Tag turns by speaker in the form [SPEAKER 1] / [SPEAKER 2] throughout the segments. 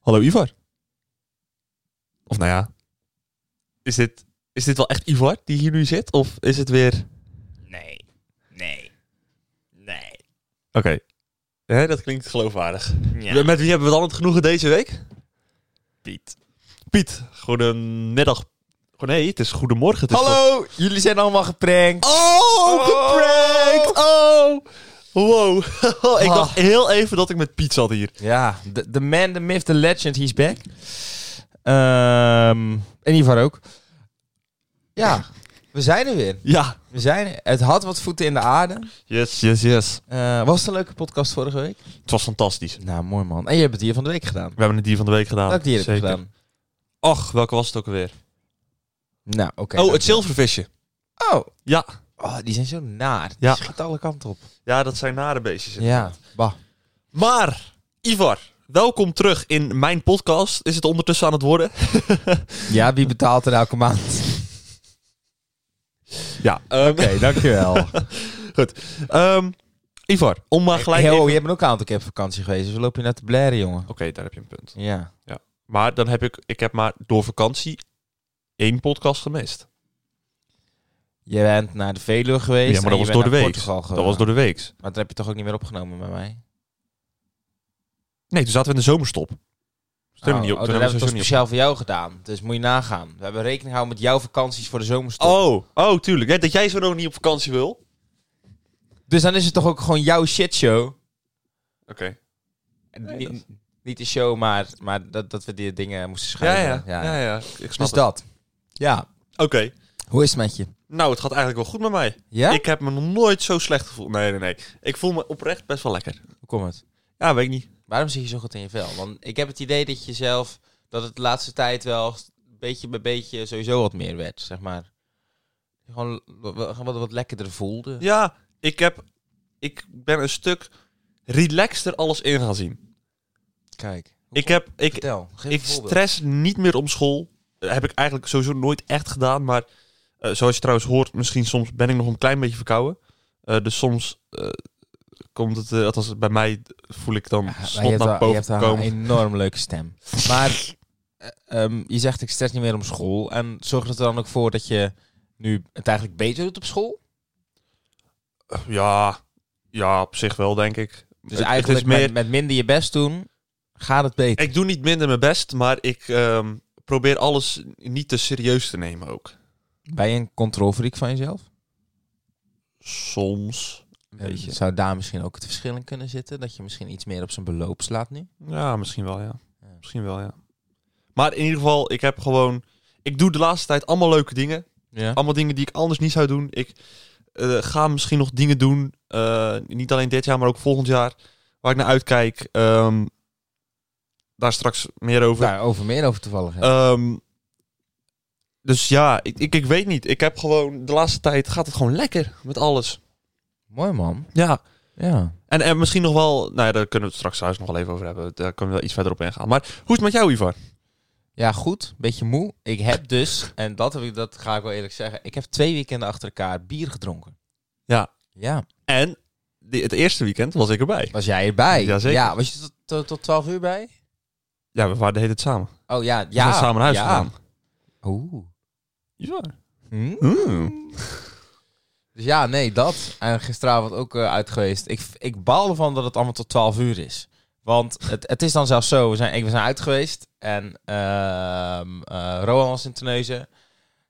[SPEAKER 1] Hallo Ivar. Of nou ja. Is dit, is dit wel echt Ivar die hier nu zit? Of is het weer. Oké.
[SPEAKER 2] Nee. Nee. Nee.
[SPEAKER 1] Hè, dat klinkt geloofwaardig.
[SPEAKER 2] Ja.
[SPEAKER 1] Met wie hebben we dan het genoegen deze week?
[SPEAKER 2] Piet.
[SPEAKER 1] Piet. Goedemiddag. Oh nee, het is goedemorgen.
[SPEAKER 2] Dus
[SPEAKER 1] Het is
[SPEAKER 2] Hallo, jullie zijn allemaal geprankt.
[SPEAKER 1] Oh, geprankt! Oh! Wow. ik
[SPEAKER 2] Ah.
[SPEAKER 1] dacht heel even dat ik met Piet zat hier.
[SPEAKER 2] Ja, the, the man, the myth, the legend, he's back. Ehm en Ivar ook. Ja, we zijn er weer.
[SPEAKER 1] Ja.
[SPEAKER 2] We zijn er. Het had wat voeten in de aarde.
[SPEAKER 1] Yes, yes, yes.
[SPEAKER 2] Eh, was het een leuke podcast vorige week?
[SPEAKER 1] Het was fantastisch.
[SPEAKER 2] Nou, mooi man. En je hebt het hier van de week gedaan.
[SPEAKER 1] We hebben het dier van de week gedaan.
[SPEAKER 2] Welk dier heb je
[SPEAKER 1] Zeker.
[SPEAKER 2] gedaan?
[SPEAKER 1] Och, welke was het ook alweer?
[SPEAKER 2] Nou, oké.
[SPEAKER 1] oh, het zilvervisje.
[SPEAKER 2] Oh.
[SPEAKER 1] Ja.
[SPEAKER 2] oh, die zijn zo naar. Die
[SPEAKER 1] Ja.
[SPEAKER 2] schiet alle kanten op.
[SPEAKER 1] Ja, dat zijn nare beestjes.
[SPEAKER 2] Ja, bah.
[SPEAKER 1] Maar, Ivar, welkom terug in mijn podcast. Is het ondertussen aan het worden?
[SPEAKER 2] Ja, wie betaalt er elke maand?
[SPEAKER 1] Ja.
[SPEAKER 2] Oké, dankjewel.
[SPEAKER 1] Ehm, Ivar, om maar gelijk...
[SPEAKER 2] Hey,
[SPEAKER 1] even-
[SPEAKER 2] oh, je bent ook een aantal keer op vakantie geweest, dus loop je naar te blaren, jongen.
[SPEAKER 1] Oké, daar heb je een punt.
[SPEAKER 2] Ja.
[SPEAKER 1] Maar dan heb ik... Ik heb maar door vakantie één podcast gemist.
[SPEAKER 2] Je bent naar de Veluwe geweest.
[SPEAKER 1] Ja, maar
[SPEAKER 2] en
[SPEAKER 1] dat
[SPEAKER 2] je
[SPEAKER 1] was door
[SPEAKER 2] bent
[SPEAKER 1] de
[SPEAKER 2] naar
[SPEAKER 1] week.
[SPEAKER 2] Portugal
[SPEAKER 1] Dat
[SPEAKER 2] gegaan.
[SPEAKER 1] was door de week.
[SPEAKER 2] Maar dat heb je toch ook niet meer opgenomen bij mij?
[SPEAKER 1] Nee, toen zaten we in de zomerstop. Toen hebben
[SPEAKER 2] oh,
[SPEAKER 1] we niet op-
[SPEAKER 2] oh,
[SPEAKER 1] toen hebben
[SPEAKER 2] dat
[SPEAKER 1] we
[SPEAKER 2] hebben we toch
[SPEAKER 1] sowieso niet
[SPEAKER 2] speciaal voor jou gedaan. Dus moet je nagaan. We hebben rekening gehouden met jouw vakanties voor de zomerstop.
[SPEAKER 1] op- Oh, oh, tuurlijk. Ja, dat jij zo nog niet op vakantie wil. Oké.
[SPEAKER 2] Dus dan is het toch ook gewoon jouw shitshow.
[SPEAKER 1] Nee,
[SPEAKER 2] niet,
[SPEAKER 1] dat-
[SPEAKER 2] niet de show, maar, maar dat, dat we die dingen moesten
[SPEAKER 1] Ja,
[SPEAKER 2] schrijven.
[SPEAKER 1] ja. Ja, ja. Ik snap
[SPEAKER 2] Dus
[SPEAKER 1] het.
[SPEAKER 2] dat. Ja.
[SPEAKER 1] Oké.
[SPEAKER 2] Hoe is het met je?
[SPEAKER 1] Nou, het gaat eigenlijk wel goed met mij.
[SPEAKER 2] Ja?
[SPEAKER 1] Ik heb me nog nooit zo slecht gevoeld. Nee, nee, nee. Ik voel me oprecht best wel lekker.
[SPEAKER 2] Hoe komt het?
[SPEAKER 1] Ja, weet ik niet.
[SPEAKER 2] Waarom zit je zo goed in je vel? Want ik heb het idee dat je zelf, dat het de laatste tijd wel st- beetje bij beetje sowieso wat meer werd, zeg maar. Gewoon wat, wat, wat lekkerder voelde.
[SPEAKER 1] Ja, ik, heb, ik ben een stuk relaxter alles in gaan zien.
[SPEAKER 2] Kijk.
[SPEAKER 1] Ik, heb, ik,
[SPEAKER 2] Vertel, geef
[SPEAKER 1] ik
[SPEAKER 2] een voorbeeld.
[SPEAKER 1] stress niet meer om school. Eh, heb ik eigenlijk sowieso nooit echt gedaan. Maar eh, zoals je trouwens hoort, misschien soms ben ik nog een klein beetje verkouden. Eh, dus soms eh, komt het, eh, althans bij mij voel ik dan
[SPEAKER 2] Ja, maar je
[SPEAKER 1] slot
[SPEAKER 2] hebt
[SPEAKER 1] naar
[SPEAKER 2] wel- je
[SPEAKER 1] boven
[SPEAKER 2] hebt wel
[SPEAKER 1] komen.
[SPEAKER 2] een enorm leuke stem. Maar eh, ehm, je zegt ik stress niet meer om school. En zorgt het er dan ook voor dat je nu het eigenlijk beter doet op school? Dus
[SPEAKER 1] Ja, ja, op zich wel denk ik.
[SPEAKER 2] Dus
[SPEAKER 1] Het- het
[SPEAKER 2] eigenlijk
[SPEAKER 1] is meer-
[SPEAKER 2] met, met minder je best doen, gaat het beter.
[SPEAKER 1] Ik doe niet minder mijn best, maar ik ehm, probeer alles niet te serieus te nemen ook.
[SPEAKER 2] Ben je een controlfreak van jezelf?
[SPEAKER 1] Soms. Een
[SPEAKER 2] En
[SPEAKER 1] beetje.
[SPEAKER 2] Zou daar misschien ook het verschil in kunnen zitten? Dat je misschien iets meer op zijn beloop slaat nu?
[SPEAKER 1] Ja, misschien wel, ja.
[SPEAKER 2] Ja.
[SPEAKER 1] Misschien wel, ja. Maar in ieder geval, ik heb gewoon... Ik doe de laatste tijd allemaal leuke dingen.
[SPEAKER 2] Ja.
[SPEAKER 1] Allemaal dingen die ik anders niet zou doen. Ik eh, ga misschien nog dingen doen. eh, niet alleen dit jaar, maar ook volgend jaar. Waar ik naar uitkijk. Ehm, daar straks meer over.
[SPEAKER 2] Daar Nou, over meer over toevallig. hè?
[SPEAKER 1] Ehm, dus ja, ik, ik, ik weet niet. Ik heb gewoon... De laatste tijd gaat het gewoon lekker met alles. Eh.
[SPEAKER 2] Mooi man.
[SPEAKER 1] Ja.
[SPEAKER 2] Ja.
[SPEAKER 1] En, en misschien nog wel... Nou ja, daar kunnen we het straks thuis nog wel even over hebben. Daar kunnen we wel iets verder op ingaan. Maar hoe is het met jou, Ivar?
[SPEAKER 2] Ja, goed. Beetje moe. Ik heb dus, en dat, heb ik, dat ga ik wel eerlijk zeggen, ik heb twee weekenden achter elkaar bier gedronken.
[SPEAKER 1] Ja.
[SPEAKER 2] Ja.
[SPEAKER 1] En die- het eerste weekend was ik erbij.
[SPEAKER 2] Was jij erbij?
[SPEAKER 1] Jazeker.
[SPEAKER 2] Ja, was je tot, tot, tot 12 uur bij?
[SPEAKER 1] Ja, we waren de hele tijd samen.
[SPEAKER 2] Oh ja,
[SPEAKER 1] We zijn
[SPEAKER 2] ja.
[SPEAKER 1] samen naar huis
[SPEAKER 2] ja.
[SPEAKER 1] gegaan.
[SPEAKER 2] Oeh.
[SPEAKER 1] Ja.
[SPEAKER 2] Hm?
[SPEAKER 1] Mm.
[SPEAKER 2] Dus ja, nee, dat. En gisteravond ook eh, uit geweest. Ik, ik baal ervan dat het allemaal tot 12 uur is. Want het, het is dan zelfs zo, we zijn, ik, we zijn uit geweest en ehm eh, Rohan was in Teneuzen.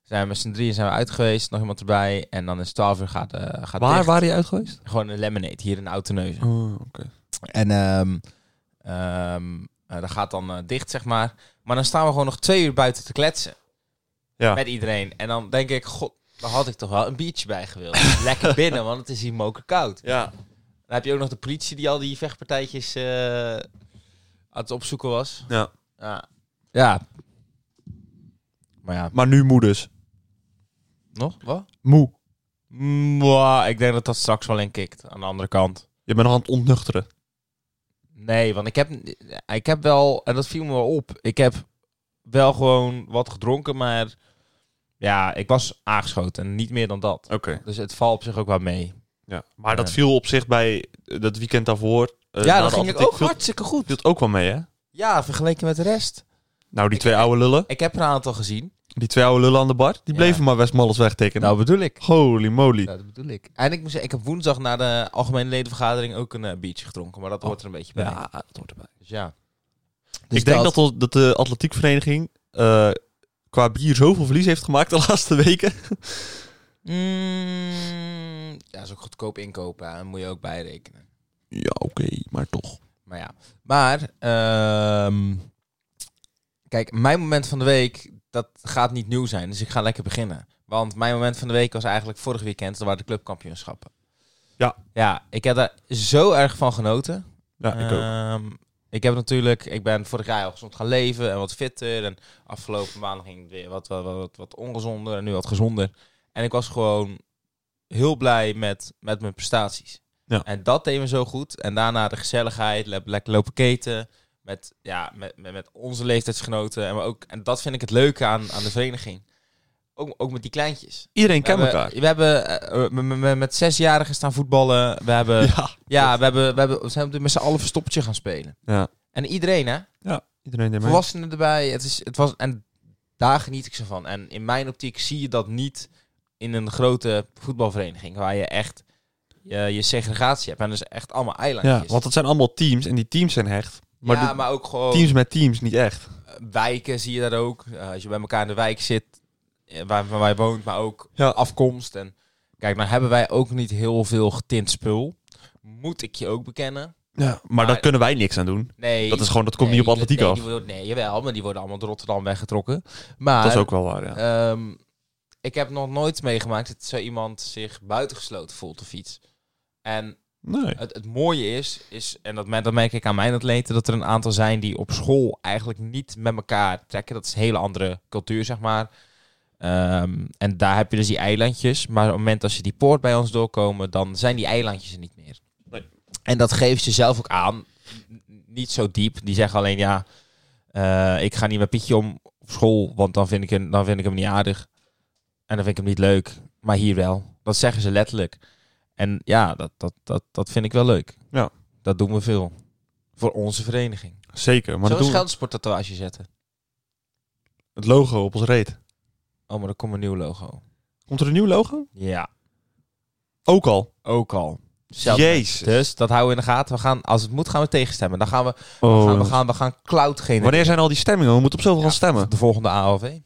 [SPEAKER 2] Zijn we met z'n drieën zijn we uit geweest, nog iemand erbij. En dan is 12 uur gaat, eh gaat
[SPEAKER 1] Waar
[SPEAKER 2] dicht.
[SPEAKER 1] waren je uit geweest?
[SPEAKER 2] Gewoon een lemonade, hier in Oud-Teneuzen.
[SPEAKER 1] Oh, oké.
[SPEAKER 2] En ehm, ehm, eh, dat gaat dan eh, dicht, zeg maar. Maar dan staan we gewoon nog twee uur buiten te kletsen.
[SPEAKER 1] Ja.
[SPEAKER 2] Met iedereen. En dan denk ik, god, daar had ik toch wel een biertje bij gewild. Lekker binnen, want het is hier mokerkoud.
[SPEAKER 1] Ja.
[SPEAKER 2] Dan heb je ook nog de politie die al die vechtpartijtjes eh, aan het opzoeken was.
[SPEAKER 1] ja.
[SPEAKER 2] Ja. ja. Maar ja,
[SPEAKER 1] Maar nu moe dus.
[SPEAKER 2] nog? Wat?
[SPEAKER 1] Moe.
[SPEAKER 2] Mwah, ik denk dat dat straks wel in kikt. Aan de andere kant.
[SPEAKER 1] Je bent nog aan het ontnuchteren.
[SPEAKER 2] Nee, want ik heb, ik heb wel, en dat viel me wel op, ik heb wel gewoon wat gedronken, maar ja, ik was aangeschoten en niet meer dan dat.
[SPEAKER 1] Oké.
[SPEAKER 2] Dus het valt op zich ook wel mee.
[SPEAKER 1] Ja. Maar dat
[SPEAKER 2] Ja.
[SPEAKER 1] viel op zich bij eh, dat weekend daarvoor. eh, eh, na
[SPEAKER 2] ja,
[SPEAKER 1] de
[SPEAKER 2] dat ging ik
[SPEAKER 1] atletiek
[SPEAKER 2] ook
[SPEAKER 1] viel-
[SPEAKER 2] hartstikke goed.
[SPEAKER 1] viel het ook wel mee, hè?
[SPEAKER 2] Ja, vergeleken met de rest.
[SPEAKER 1] Nou, die
[SPEAKER 2] Ik-
[SPEAKER 1] twee oude lullen.
[SPEAKER 2] Ik heb er een aantal gezien.
[SPEAKER 1] Die twee oude lullen aan de bar. Die
[SPEAKER 2] Ja.
[SPEAKER 1] bleven maar Westmalles wegtekenen.
[SPEAKER 2] Nou, bedoel ik.
[SPEAKER 1] Holy moly.
[SPEAKER 2] dat bedoel ik. En ik moet zeggen, ik heb woensdag na de algemene ledenvergadering ook een eh, biertje gedronken. Maar dat hoort er een beetje bij.
[SPEAKER 1] dat hoort erbij.
[SPEAKER 2] Dus ja. Dus
[SPEAKER 1] ik denk dat, ons- dat de atletiekvereniging eh, qua bier zoveel verlies heeft gemaakt de laatste weken.
[SPEAKER 2] Mm, ja, dat is ook goedkoop inkopen. En moet je ook bijrekenen.
[SPEAKER 1] Ja, oké, maar toch.
[SPEAKER 2] Maar ja. Maar, ehm, kijk, mijn moment van de week, dat gaat niet nieuw zijn. Dus ik ga lekker beginnen. Want mijn moment van de week was eigenlijk vorig weekend. Dat waren de clubkampioenschappen.
[SPEAKER 1] Ja.
[SPEAKER 2] Ja, ik heb daar zo erg van genoten.
[SPEAKER 1] Ja, ik ook.
[SPEAKER 2] Ehm, ik heb natuurlijk, ik ben vorig jaar al gezond gaan leven en wat fitter. En afgelopen maanden ging het weer wat, wat, wat, wat ongezonder en nu wat gezonder. En ik was gewoon heel blij met, met mijn prestaties.
[SPEAKER 1] Ja.
[SPEAKER 2] En dat deed me zo goed. En daarna de gezelligheid, le- lekker lopen keten. Met, ja, met, met, met onze leeftijdsgenoten. En, maar ook, en dat vind ik het leuke aan, aan de vereniging. Ook, ook met die kleintjes.
[SPEAKER 1] Iedereen
[SPEAKER 2] We
[SPEAKER 1] kent
[SPEAKER 2] hebben,
[SPEAKER 1] elkaar.
[SPEAKER 2] we hebben eh, eh, m- m- m- met zesjarigen staan voetballen. We hebben
[SPEAKER 1] Ja.
[SPEAKER 2] ja, we, hebben, we, hebben, we zijn met z'n allen verstoppertje gaan spelen.
[SPEAKER 1] ja.
[SPEAKER 2] En iedereen, hè?
[SPEAKER 1] Iedereen deed mee.
[SPEAKER 2] Volwassenen erbij. Het is, het was, en daar geniet ik ze van. En in mijn optiek zie je dat niet in een grote voetbalvereniging. Waar je echt je, je segregatie hebt. En dus echt allemaal eilandjes.
[SPEAKER 1] Ja, want het zijn allemaal teams en die teams zijn hecht. Maar,
[SPEAKER 2] Ja,
[SPEAKER 1] de
[SPEAKER 2] maar ook gewoon
[SPEAKER 1] teams met teams niet echt.
[SPEAKER 2] wijken zie je daar ook. Eh, als je bij elkaar in de wijk zit, eh, waar, waar wij woont, maar ook
[SPEAKER 1] Ja.
[SPEAKER 2] afkomst. En kijk, nou hebben wij ook niet heel veel getint spul. Moet ik je ook bekennen.
[SPEAKER 1] Ja, maar,
[SPEAKER 2] Maar-
[SPEAKER 1] daar kunnen wij niks aan doen.
[SPEAKER 2] Nee.
[SPEAKER 1] Dat is gewoon, dat komt
[SPEAKER 2] Nee,
[SPEAKER 1] niet op atletiek
[SPEAKER 2] nee,
[SPEAKER 1] af.
[SPEAKER 2] die worden- nee, jawel, maar die worden allemaal door Rotterdam weggetrokken. Maar
[SPEAKER 1] dat is ook wel waar, ja.
[SPEAKER 2] ehm, ik heb nog nooit meegemaakt dat zo iemand zich buitengesloten voelt of iets. En
[SPEAKER 1] Nee.
[SPEAKER 2] het, het mooie is, is en dat, mer- dat merk ik aan mijn atleten, dat er een aantal zijn die op school eigenlijk niet met elkaar trekken. Dat is een hele andere cultuur, zeg maar. Ehm, en daar heb je dus die eilandjes. Maar op het moment dat ze die poort bij ons doorkomen, dan zijn die eilandjes er niet meer.
[SPEAKER 1] Nee.
[SPEAKER 2] En dat geven ze zelf ook aan. N- Niet zo diep. Die zeggen alleen ja, eh, ik ga niet met Pietje om op school, want dan vind, ik hem, dan vind ik hem niet aardig. En dan vind ik hem niet leuk. Maar hier wel. Dat zeggen ze letterlijk. En ja, dat, dat, dat, dat vind ik wel leuk.
[SPEAKER 1] Ja.
[SPEAKER 2] Dat doen we veel. Voor onze vereniging.
[SPEAKER 1] Zeker, maar
[SPEAKER 2] Maar
[SPEAKER 1] dat doen we.
[SPEAKER 2] Zo'n tatoeage zetten.
[SPEAKER 1] het logo op ons reet.
[SPEAKER 2] Oh, maar er komt een nieuw logo.
[SPEAKER 1] Komt er een nieuw logo?
[SPEAKER 2] Ja,
[SPEAKER 1] Ook al.
[SPEAKER 2] ook al.
[SPEAKER 1] Jezus.
[SPEAKER 2] Dus dat houden we in de gaten. We gaan, als het moet gaan we tegenstemmen. Dan gaan we,
[SPEAKER 1] Oh,
[SPEAKER 2] gaan, we,
[SPEAKER 1] dat-
[SPEAKER 2] gaan, we gaan cloud genereren.
[SPEAKER 1] Oh. Wanneer zijn al die stemmingen? We moeten op zoveel
[SPEAKER 2] Ja,
[SPEAKER 1] gaan stemmen.
[SPEAKER 2] De volgende ALV.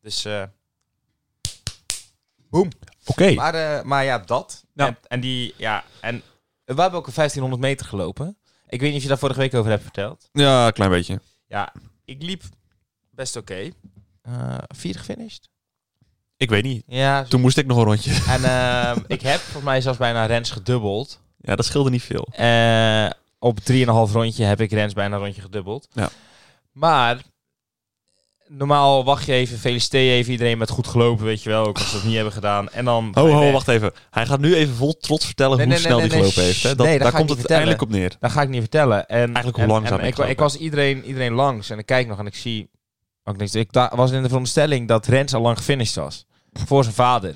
[SPEAKER 2] Dus, eh,
[SPEAKER 1] Oké.
[SPEAKER 2] maar, eh, maar ja, dat.
[SPEAKER 1] Ja.
[SPEAKER 2] En, en die, ja, en we hebben ook een 1500 meter gelopen. Ik weet niet of je daar vorige week over hebt verteld.
[SPEAKER 1] Ja, een klein beetje.
[SPEAKER 2] Ja, ik liep best oké. Eh, vierde gefinished.
[SPEAKER 1] Ik weet niet.
[SPEAKER 2] Ja,
[SPEAKER 1] Toen moest ik nog een rondje.
[SPEAKER 2] En ehm, ik heb volgens mij zelfs bijna Rens gedubbeld.
[SPEAKER 1] Ja, dat scheelde niet veel.
[SPEAKER 2] Eh op 3,5 rondje heb ik Rens bijna een rondje gedubbeld.
[SPEAKER 1] Ja.
[SPEAKER 2] Maar normaal wacht je even, feliciteer je even iedereen met goed gelopen, weet je wel. Ook als ze dat niet hebben gedaan. En dan.
[SPEAKER 1] Ho, ho, wacht even. Hij gaat nu even vol trots vertellen
[SPEAKER 2] Nee,
[SPEAKER 1] hoe
[SPEAKER 2] nee, nee,
[SPEAKER 1] snel
[SPEAKER 2] nee,
[SPEAKER 1] hij
[SPEAKER 2] nee,
[SPEAKER 1] gelopen heeft. Hè?
[SPEAKER 2] shh.
[SPEAKER 1] Dat,
[SPEAKER 2] Nee, dat
[SPEAKER 1] daar
[SPEAKER 2] ga ik
[SPEAKER 1] komt het
[SPEAKER 2] niet vertellen.
[SPEAKER 1] eindelijk op neer.
[SPEAKER 2] Dat ga ik niet vertellen. En,
[SPEAKER 1] Eigenlijk hoe
[SPEAKER 2] en-
[SPEAKER 1] langzaam
[SPEAKER 2] en
[SPEAKER 1] ik
[SPEAKER 2] ik,
[SPEAKER 1] loop.
[SPEAKER 2] ik was iedereen, iedereen langs en ik kijk nog en ik zie. oh, ik, denk, ik da- was in de veronderstelling dat Rens al lang gefinished was. Voor zijn vader.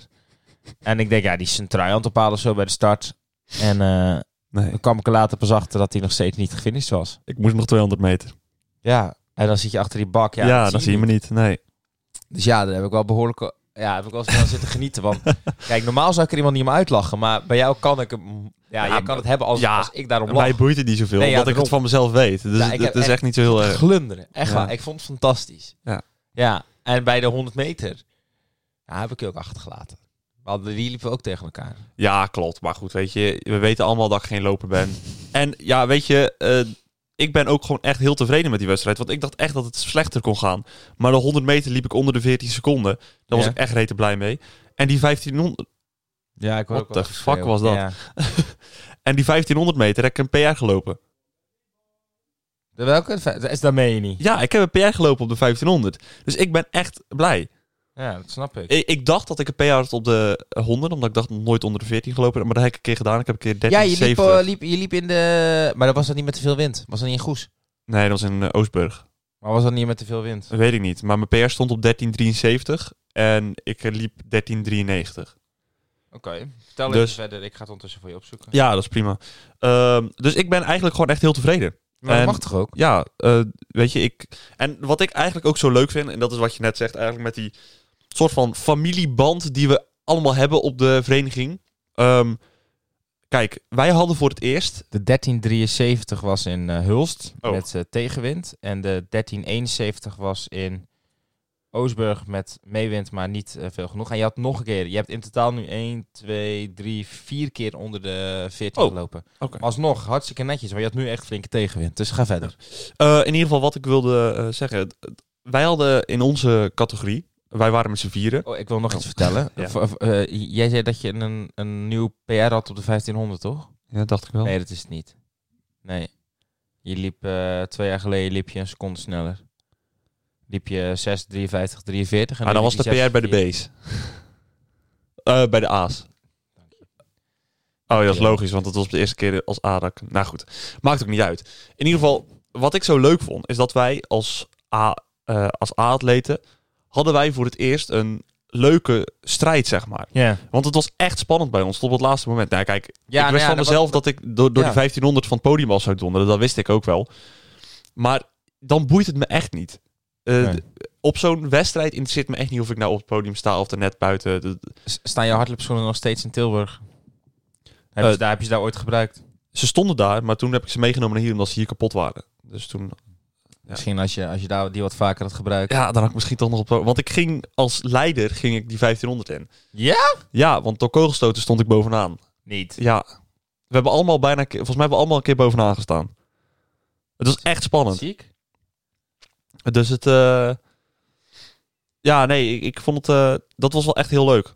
[SPEAKER 2] En ik denk, ja, die is zijn trui aan het ophalen of zo bij de start. En eh,
[SPEAKER 1] Nee,
[SPEAKER 2] dan kwam ik er later pas achter dat hij nog steeds niet gefinished was.
[SPEAKER 1] ik moest nog 200 meter.
[SPEAKER 2] Ja. En dan zit je achter die bak. Ja,
[SPEAKER 1] Ja,
[SPEAKER 2] dat
[SPEAKER 1] dan zie je me
[SPEAKER 2] niet.
[SPEAKER 1] niet. Nee.
[SPEAKER 2] Dus ja, daar heb ik wel behoorlijk. Ja, heb ik wel eens van zitten genieten. Want kijk, normaal zou ik er iemand niet om uitlachen. Maar bij jou kan ik hem. Ja,
[SPEAKER 1] Ja,
[SPEAKER 2] je kan het hebben als,
[SPEAKER 1] ja,
[SPEAKER 2] als ik daarom lach.
[SPEAKER 1] Mij boeit het niet zoveel,
[SPEAKER 2] Nee, ja,
[SPEAKER 1] omdat ik het
[SPEAKER 2] daarom.
[SPEAKER 1] van mezelf weet. Dus
[SPEAKER 2] Ja, ik
[SPEAKER 1] het,
[SPEAKER 2] heb
[SPEAKER 1] het is
[SPEAKER 2] echt-
[SPEAKER 1] echt niet zo heel erg...
[SPEAKER 2] glunderen. Echt
[SPEAKER 1] Ja.
[SPEAKER 2] waar. Ik vond het fantastisch.
[SPEAKER 1] Ja.
[SPEAKER 2] Ja. En bij de 100 meter ja, heb ik je ook achtergelaten. We hadden, die liepen ook tegen elkaar.
[SPEAKER 1] Ja, klopt. Maar goed, weet je, we weten allemaal dat ik geen loper ben. En ja, weet je, eh, ik ben ook gewoon echt heel tevreden met die wedstrijd. Want ik dacht echt dat het slechter kon gaan. Maar de 100 meter liep ik onder de 14 seconden. Daar was
[SPEAKER 2] Ja.
[SPEAKER 1] ik echt rete blij mee. En die 1500,
[SPEAKER 2] Ja, ik
[SPEAKER 1] hoor What ook wel the fuck geschreeuw. was dat? en die 1500 meter heb ik een PR gelopen.
[SPEAKER 2] De welke? De- Is dat meen je niet?
[SPEAKER 1] Ja, ik heb een PR gelopen op de 1500. Dus ik ben echt blij.
[SPEAKER 2] Ja, dat snap ik.
[SPEAKER 1] Ik, ik dacht dat ik een PR had op de 100, omdat ik dacht nog nooit onder de 14 gelopen. Maar dat heb ik een keer gedaan. Ik heb een keer 13,
[SPEAKER 2] Ja, je liep,
[SPEAKER 1] 70.
[SPEAKER 2] eh, liep, je liep in de... Maar dat was dat niet met te veel wind. Was dat niet in Goes?
[SPEAKER 1] Nee, dat was in eh, Oostburg.
[SPEAKER 2] Maar was dat niet met te veel wind?
[SPEAKER 1] Dat weet ik niet. Maar mijn PR stond op 1373 en ik eh, liep 1393.
[SPEAKER 2] Vertel
[SPEAKER 1] Dus-
[SPEAKER 2] even verder. Ik ga het ondertussen voor je opzoeken.
[SPEAKER 1] Ja, dat is prima. Ehm, dus ik ben eigenlijk gewoon echt heel tevreden.
[SPEAKER 2] Maar
[SPEAKER 1] en-
[SPEAKER 2] dat mag toch ook?
[SPEAKER 1] Ja, eh, weet je, ik... En wat ik eigenlijk ook zo leuk vind, en dat is wat je net zegt eigenlijk met die soort van familieband die we allemaal hebben op de vereniging. Ehm, kijk, wij hadden voor het eerst...
[SPEAKER 2] De 1373 was in eh, Hulst
[SPEAKER 1] Oh.
[SPEAKER 2] met eh, tegenwind. En de 1371 was in Oostburg met meewind, maar niet eh, veel genoeg. En je had nog een keer, je hebt in totaal nu 1, 2, 3, 4 keer onder de 14
[SPEAKER 1] Oh.
[SPEAKER 2] gelopen.
[SPEAKER 1] Oké.
[SPEAKER 2] Maar alsnog, hartstikke netjes, maar je had nu echt flinke tegenwind. Dus ga verder.
[SPEAKER 1] Eh, in ieder geval wat ik wilde eh, zeggen. Het- het- Wij hadden in onze categorie, wij waren met z'n vieren.
[SPEAKER 2] Oh, ik wil nog iets vertellen.
[SPEAKER 1] Ja.
[SPEAKER 2] V- v- eh, jij zei dat je een, een nieuw PR had op de 1500, toch?
[SPEAKER 1] Ja, dacht ik wel.
[SPEAKER 2] Nee, dat is het niet. Nee. Je liep eh, twee jaar geleden liep je een seconde sneller. Liep je 6, 53, 43. En
[SPEAKER 1] Ah, dan
[SPEAKER 2] nu
[SPEAKER 1] was de
[SPEAKER 2] liep je
[SPEAKER 1] PR bij de
[SPEAKER 2] 46.
[SPEAKER 1] B's. Eh, bij de A's. Oh ja, dat is
[SPEAKER 2] Ja.
[SPEAKER 1] logisch, want dat was de eerste keer als ADAC. Nou goed, maakt ook niet uit. In ieder geval, wat ik zo leuk vond, is dat wij als A- eh, als A-atleten... hadden wij voor het eerst een leuke strijd, zeg maar.
[SPEAKER 2] Ja.
[SPEAKER 1] Want het was echt spannend bij ons tot op het laatste moment. Nou, kijk,
[SPEAKER 2] Ja,
[SPEAKER 1] ik
[SPEAKER 2] nou
[SPEAKER 1] wist
[SPEAKER 2] ja,
[SPEAKER 1] van
[SPEAKER 2] dat
[SPEAKER 1] mezelf dat ik door, door
[SPEAKER 2] Ja.
[SPEAKER 1] die 1500 van het podium al zou donderen. Dat wist ik ook wel. Maar dan boeit het me echt niet. Eh,
[SPEAKER 2] Nee.
[SPEAKER 1] d- Op zo'n wedstrijd interesseert me echt niet of ik nou op het podium sta of er net buiten. De- de-
[SPEAKER 2] S- Staan jouw hardloopschoenen nog steeds in Tilburg? Heb je,
[SPEAKER 1] Eh,
[SPEAKER 2] ze daar, heb je ze daar ooit gebruikt?
[SPEAKER 1] Ze stonden daar, maar toen heb ik ze meegenomen naar hier omdat ze hier kapot waren. Dus toen,
[SPEAKER 2] Misschien als je, als je daar die wat vaker had gebruikt.
[SPEAKER 1] ja, dan had ik misschien toch nog op. Want ik ging als leider ging ik die 1500 in.
[SPEAKER 2] Ja?
[SPEAKER 1] Ja, want door kogelstoten stond ik bovenaan.
[SPEAKER 2] Niet.
[SPEAKER 1] Ja, we hebben allemaal bijna, een keer- volgens mij hebben we allemaal een keer bovenaan gestaan. Het was echt spannend.
[SPEAKER 2] Ziek?
[SPEAKER 1] Dus het. eh, Ja, nee, ik, ik vond het. eh, dat was wel echt heel leuk.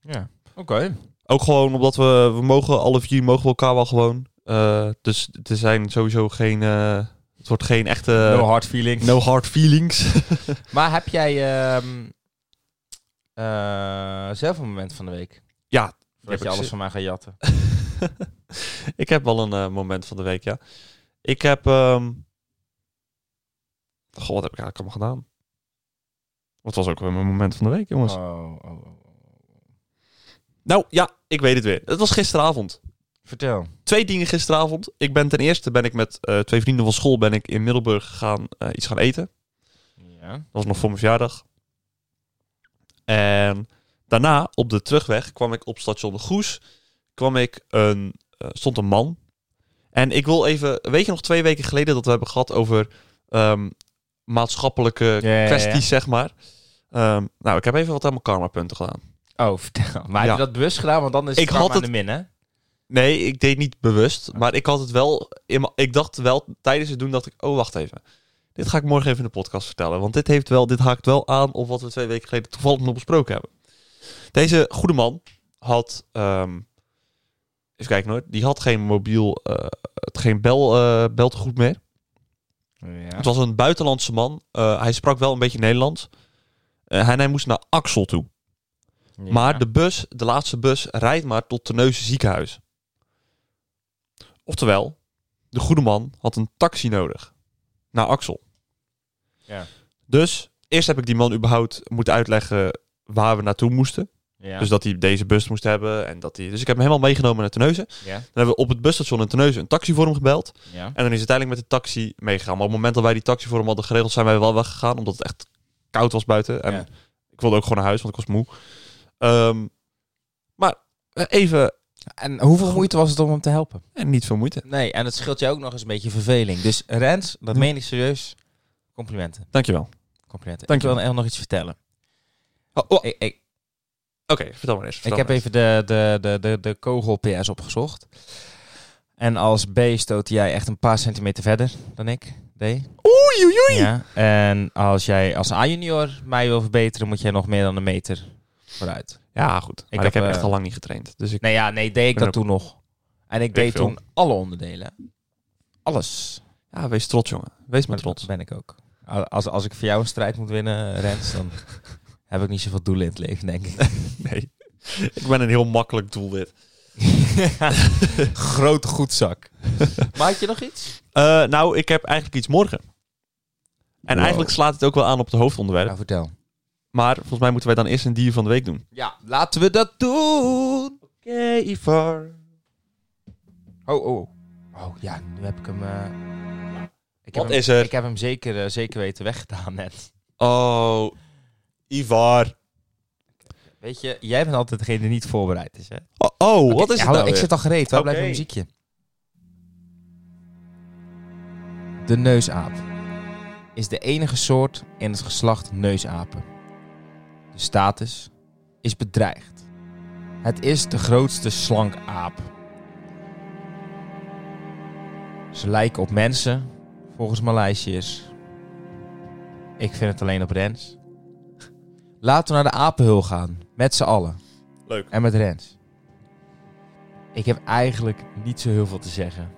[SPEAKER 2] Ja. Oké.
[SPEAKER 1] Ook gewoon omdat we. We mogen alle vier mogen we elkaar wel gewoon. Eh, dus er zijn sowieso geen. eh, het wordt geen echte.
[SPEAKER 2] no hard feelings.
[SPEAKER 1] no hard feelings.
[SPEAKER 2] Maar heb jij ehm, eh, zelf een moment van de week?
[SPEAKER 1] Ja, heb
[SPEAKER 2] Dat
[SPEAKER 1] ik
[SPEAKER 2] je alles
[SPEAKER 1] zin-
[SPEAKER 2] van mij gaat jatten.
[SPEAKER 1] ik heb wel een eh, moment van de week, ja. Ik heb. ehm, Goh, wat heb ik eigenlijk allemaal gedaan? Wat was ook weer mijn moment van de week, jongens?
[SPEAKER 2] Oh, oh, oh, oh.
[SPEAKER 1] Nou ja, ik weet het weer. Het was gisteravond.
[SPEAKER 2] Vertel.
[SPEAKER 1] twee dingen gisteravond. Ik ben ten eerste ben ik met eh, twee vrienden van school ben ik in Middelburg gegaan, eh, iets gaan eten.
[SPEAKER 2] Ja.
[SPEAKER 1] Dat was nog voor mijn verjaardag. En daarna, op de terugweg, kwam ik op station de Goes. Kwam ik een, eh, stond een man. En ik wil even... Weet je nog twee weken geleden dat we hebben gehad over ehm, maatschappelijke
[SPEAKER 2] ja, ja.
[SPEAKER 1] kwesties, zeg maar. Ehm, nou, ik heb even wat aan mijn karma-punten gedaan.
[SPEAKER 2] Oh, vertel. Maar
[SPEAKER 1] Ja.
[SPEAKER 2] heb je dat bewust gedaan? Want dan is
[SPEAKER 1] Ik
[SPEAKER 2] het karma
[SPEAKER 1] had
[SPEAKER 2] aan de min, hè?
[SPEAKER 1] Nee, ik deed niet bewust. Maar ik had het wel. in mijn- Ik dacht wel tijdens het doen dacht ik, oh, wacht even. Dit ga ik morgen even in de podcast vertellen. Want dit, heeft wel, dit haakt wel aan op wat we twee weken geleden toevallig nog besproken hebben. Deze goede man had. ehm even kijken hoor. Die had geen mobiel. eh, het geen bel, eh beltegoed meer.
[SPEAKER 2] Ja.
[SPEAKER 1] Het was een buitenlandse man. Eh, hij sprak wel een beetje Nederlands. Eh, en hij moest naar Axel toe. Maar de bus, de laatste bus, rijdt maar tot Terneuzen ziekenhuis. Oftewel, de goede man had een taxi nodig. Naar Axel.
[SPEAKER 2] Ja.
[SPEAKER 1] Dus eerst heb ik die man überhaupt moeten uitleggen waar we naartoe moesten.
[SPEAKER 2] Ja.
[SPEAKER 1] Dus dat hij deze bus moest hebben. En dat hij... Dus ik heb hem helemaal meegenomen naar Terneuzen.
[SPEAKER 2] ja.
[SPEAKER 1] Dan hebben we op het busstation in Terneuzen een taxi voor hem gebeld.
[SPEAKER 2] Ja.
[SPEAKER 1] En dan is het uiteindelijk met de taxi meegegaan. Maar op het moment dat wij die taxi voor hem hadden geregeld, zijn wij wel weggegaan. Omdat het echt koud was buiten. En
[SPEAKER 2] Ja.
[SPEAKER 1] ik wilde ook gewoon naar huis, want ik was moe. Ehm, maar eh, even,
[SPEAKER 2] En hoeveel moeite was het om hem te helpen?
[SPEAKER 1] en niet veel moeite.
[SPEAKER 2] Nee, en het scheelt jou ook nog eens een beetje verveling. Dus Rens, dat
[SPEAKER 1] Hm.
[SPEAKER 2] meen ik serieus. Complimenten.
[SPEAKER 1] Dankjewel.
[SPEAKER 2] Complimenten.
[SPEAKER 1] Dank
[SPEAKER 2] ik
[SPEAKER 1] je
[SPEAKER 2] wil
[SPEAKER 1] wel.
[SPEAKER 2] heel nog iets vertellen.
[SPEAKER 1] Oh, oh, Oké,
[SPEAKER 2] Ik, ik,
[SPEAKER 1] vertel maar eens. vertel
[SPEAKER 2] ik heb
[SPEAKER 1] maar
[SPEAKER 2] even de, de, de, de, de kogel-PS opgezocht. En als B stoot jij echt een paar centimeter verder dan ik, D.
[SPEAKER 1] eens. Oei, oei, oei.
[SPEAKER 2] Ja, en als jij als A-junior mij wil verbeteren, moet jij nog meer dan een meter vooruit.
[SPEAKER 1] Ja, goed. Maar ik
[SPEAKER 2] heb,
[SPEAKER 1] heb,
[SPEAKER 2] eh,
[SPEAKER 1] echt al lang niet getraind. Dus ik...
[SPEAKER 2] Nee, ja, nee, deed ik
[SPEAKER 1] Ben
[SPEAKER 2] dat toen nog. En ik deed
[SPEAKER 1] veel.
[SPEAKER 2] toen alle onderdelen. Alles.
[SPEAKER 1] Ja, wees trots, jongen. Wees maar trots.
[SPEAKER 2] Dat ben ik ook. Als, als ik voor jou een strijd moet winnen, Rens, dan heb ik niet zoveel doelen in het leven, denk ik.
[SPEAKER 1] Nee. ik ben een heel makkelijk doel dit.
[SPEAKER 2] Groot goedzak. Maar had je nog iets?
[SPEAKER 1] Eh, nou, ik heb eigenlijk iets morgen. En
[SPEAKER 2] Wow.
[SPEAKER 1] eigenlijk slaat het ook wel aan op het hoofdonderwerp.
[SPEAKER 2] Nou, vertel.
[SPEAKER 1] Maar volgens mij moeten wij dan eerst een dier van de week doen.
[SPEAKER 2] Ja, laten we dat doen.
[SPEAKER 1] Oké, Ivar.
[SPEAKER 2] Oh, oh. Oh ja, nu heb ik hem. eh, ik heb
[SPEAKER 1] Wat
[SPEAKER 2] hem,
[SPEAKER 1] is er?
[SPEAKER 2] Ik heb hem zeker, eh, zeker weten weggedaan net.
[SPEAKER 1] Oh, Ivar.
[SPEAKER 2] Weet je, jij bent altijd degene die niet voorbereid is, hè?
[SPEAKER 1] Oh, oh, wat
[SPEAKER 2] Oké,
[SPEAKER 1] is het
[SPEAKER 2] hallo,
[SPEAKER 1] nou
[SPEAKER 2] Ik
[SPEAKER 1] weer?
[SPEAKER 2] zit al gereed, waar blijft
[SPEAKER 1] Oké.
[SPEAKER 2] mijn muziekje? De neusaap is de enige soort in het geslacht neusapen. De status is bedreigd. Het is de grootste slankaap. Ze lijken op mensen, volgens Maleisiërs. Ik vind het alleen op Rens. Laten we naar de apenhul gaan, met z'n allen.
[SPEAKER 1] Leuk.
[SPEAKER 2] En met Rens. Ik heb eigenlijk niet zo heel veel te zeggen.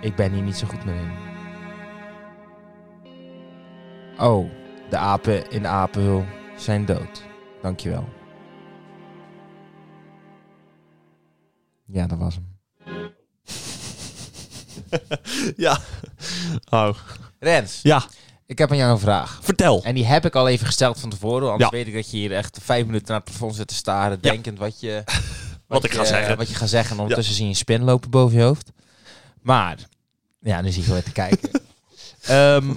[SPEAKER 2] Ik ben hier niet zo goed meer in. Oh, de apen in de apenhul zijn dood. Dankjewel. Ja, dat was hem.
[SPEAKER 1] ja. Oh.
[SPEAKER 2] Rens.
[SPEAKER 1] Ja.
[SPEAKER 2] Ik heb aan jou een vraag.
[SPEAKER 1] Vertel.
[SPEAKER 2] En die heb ik al even gesteld van tevoren. Anders
[SPEAKER 1] Ja.
[SPEAKER 2] weet ik dat je hier echt vijf minuten naar het plafond zit te staren.
[SPEAKER 1] Ja.
[SPEAKER 2] Denkend wat je...
[SPEAKER 1] Wat ik ga
[SPEAKER 2] je- eh,
[SPEAKER 1] zeggen.
[SPEAKER 2] Wat je gaat zeggen. En ondertussen zie je een spin lopen boven je hoofd. Maar... Ja, nu zie ik wel even te kijken. Ehm,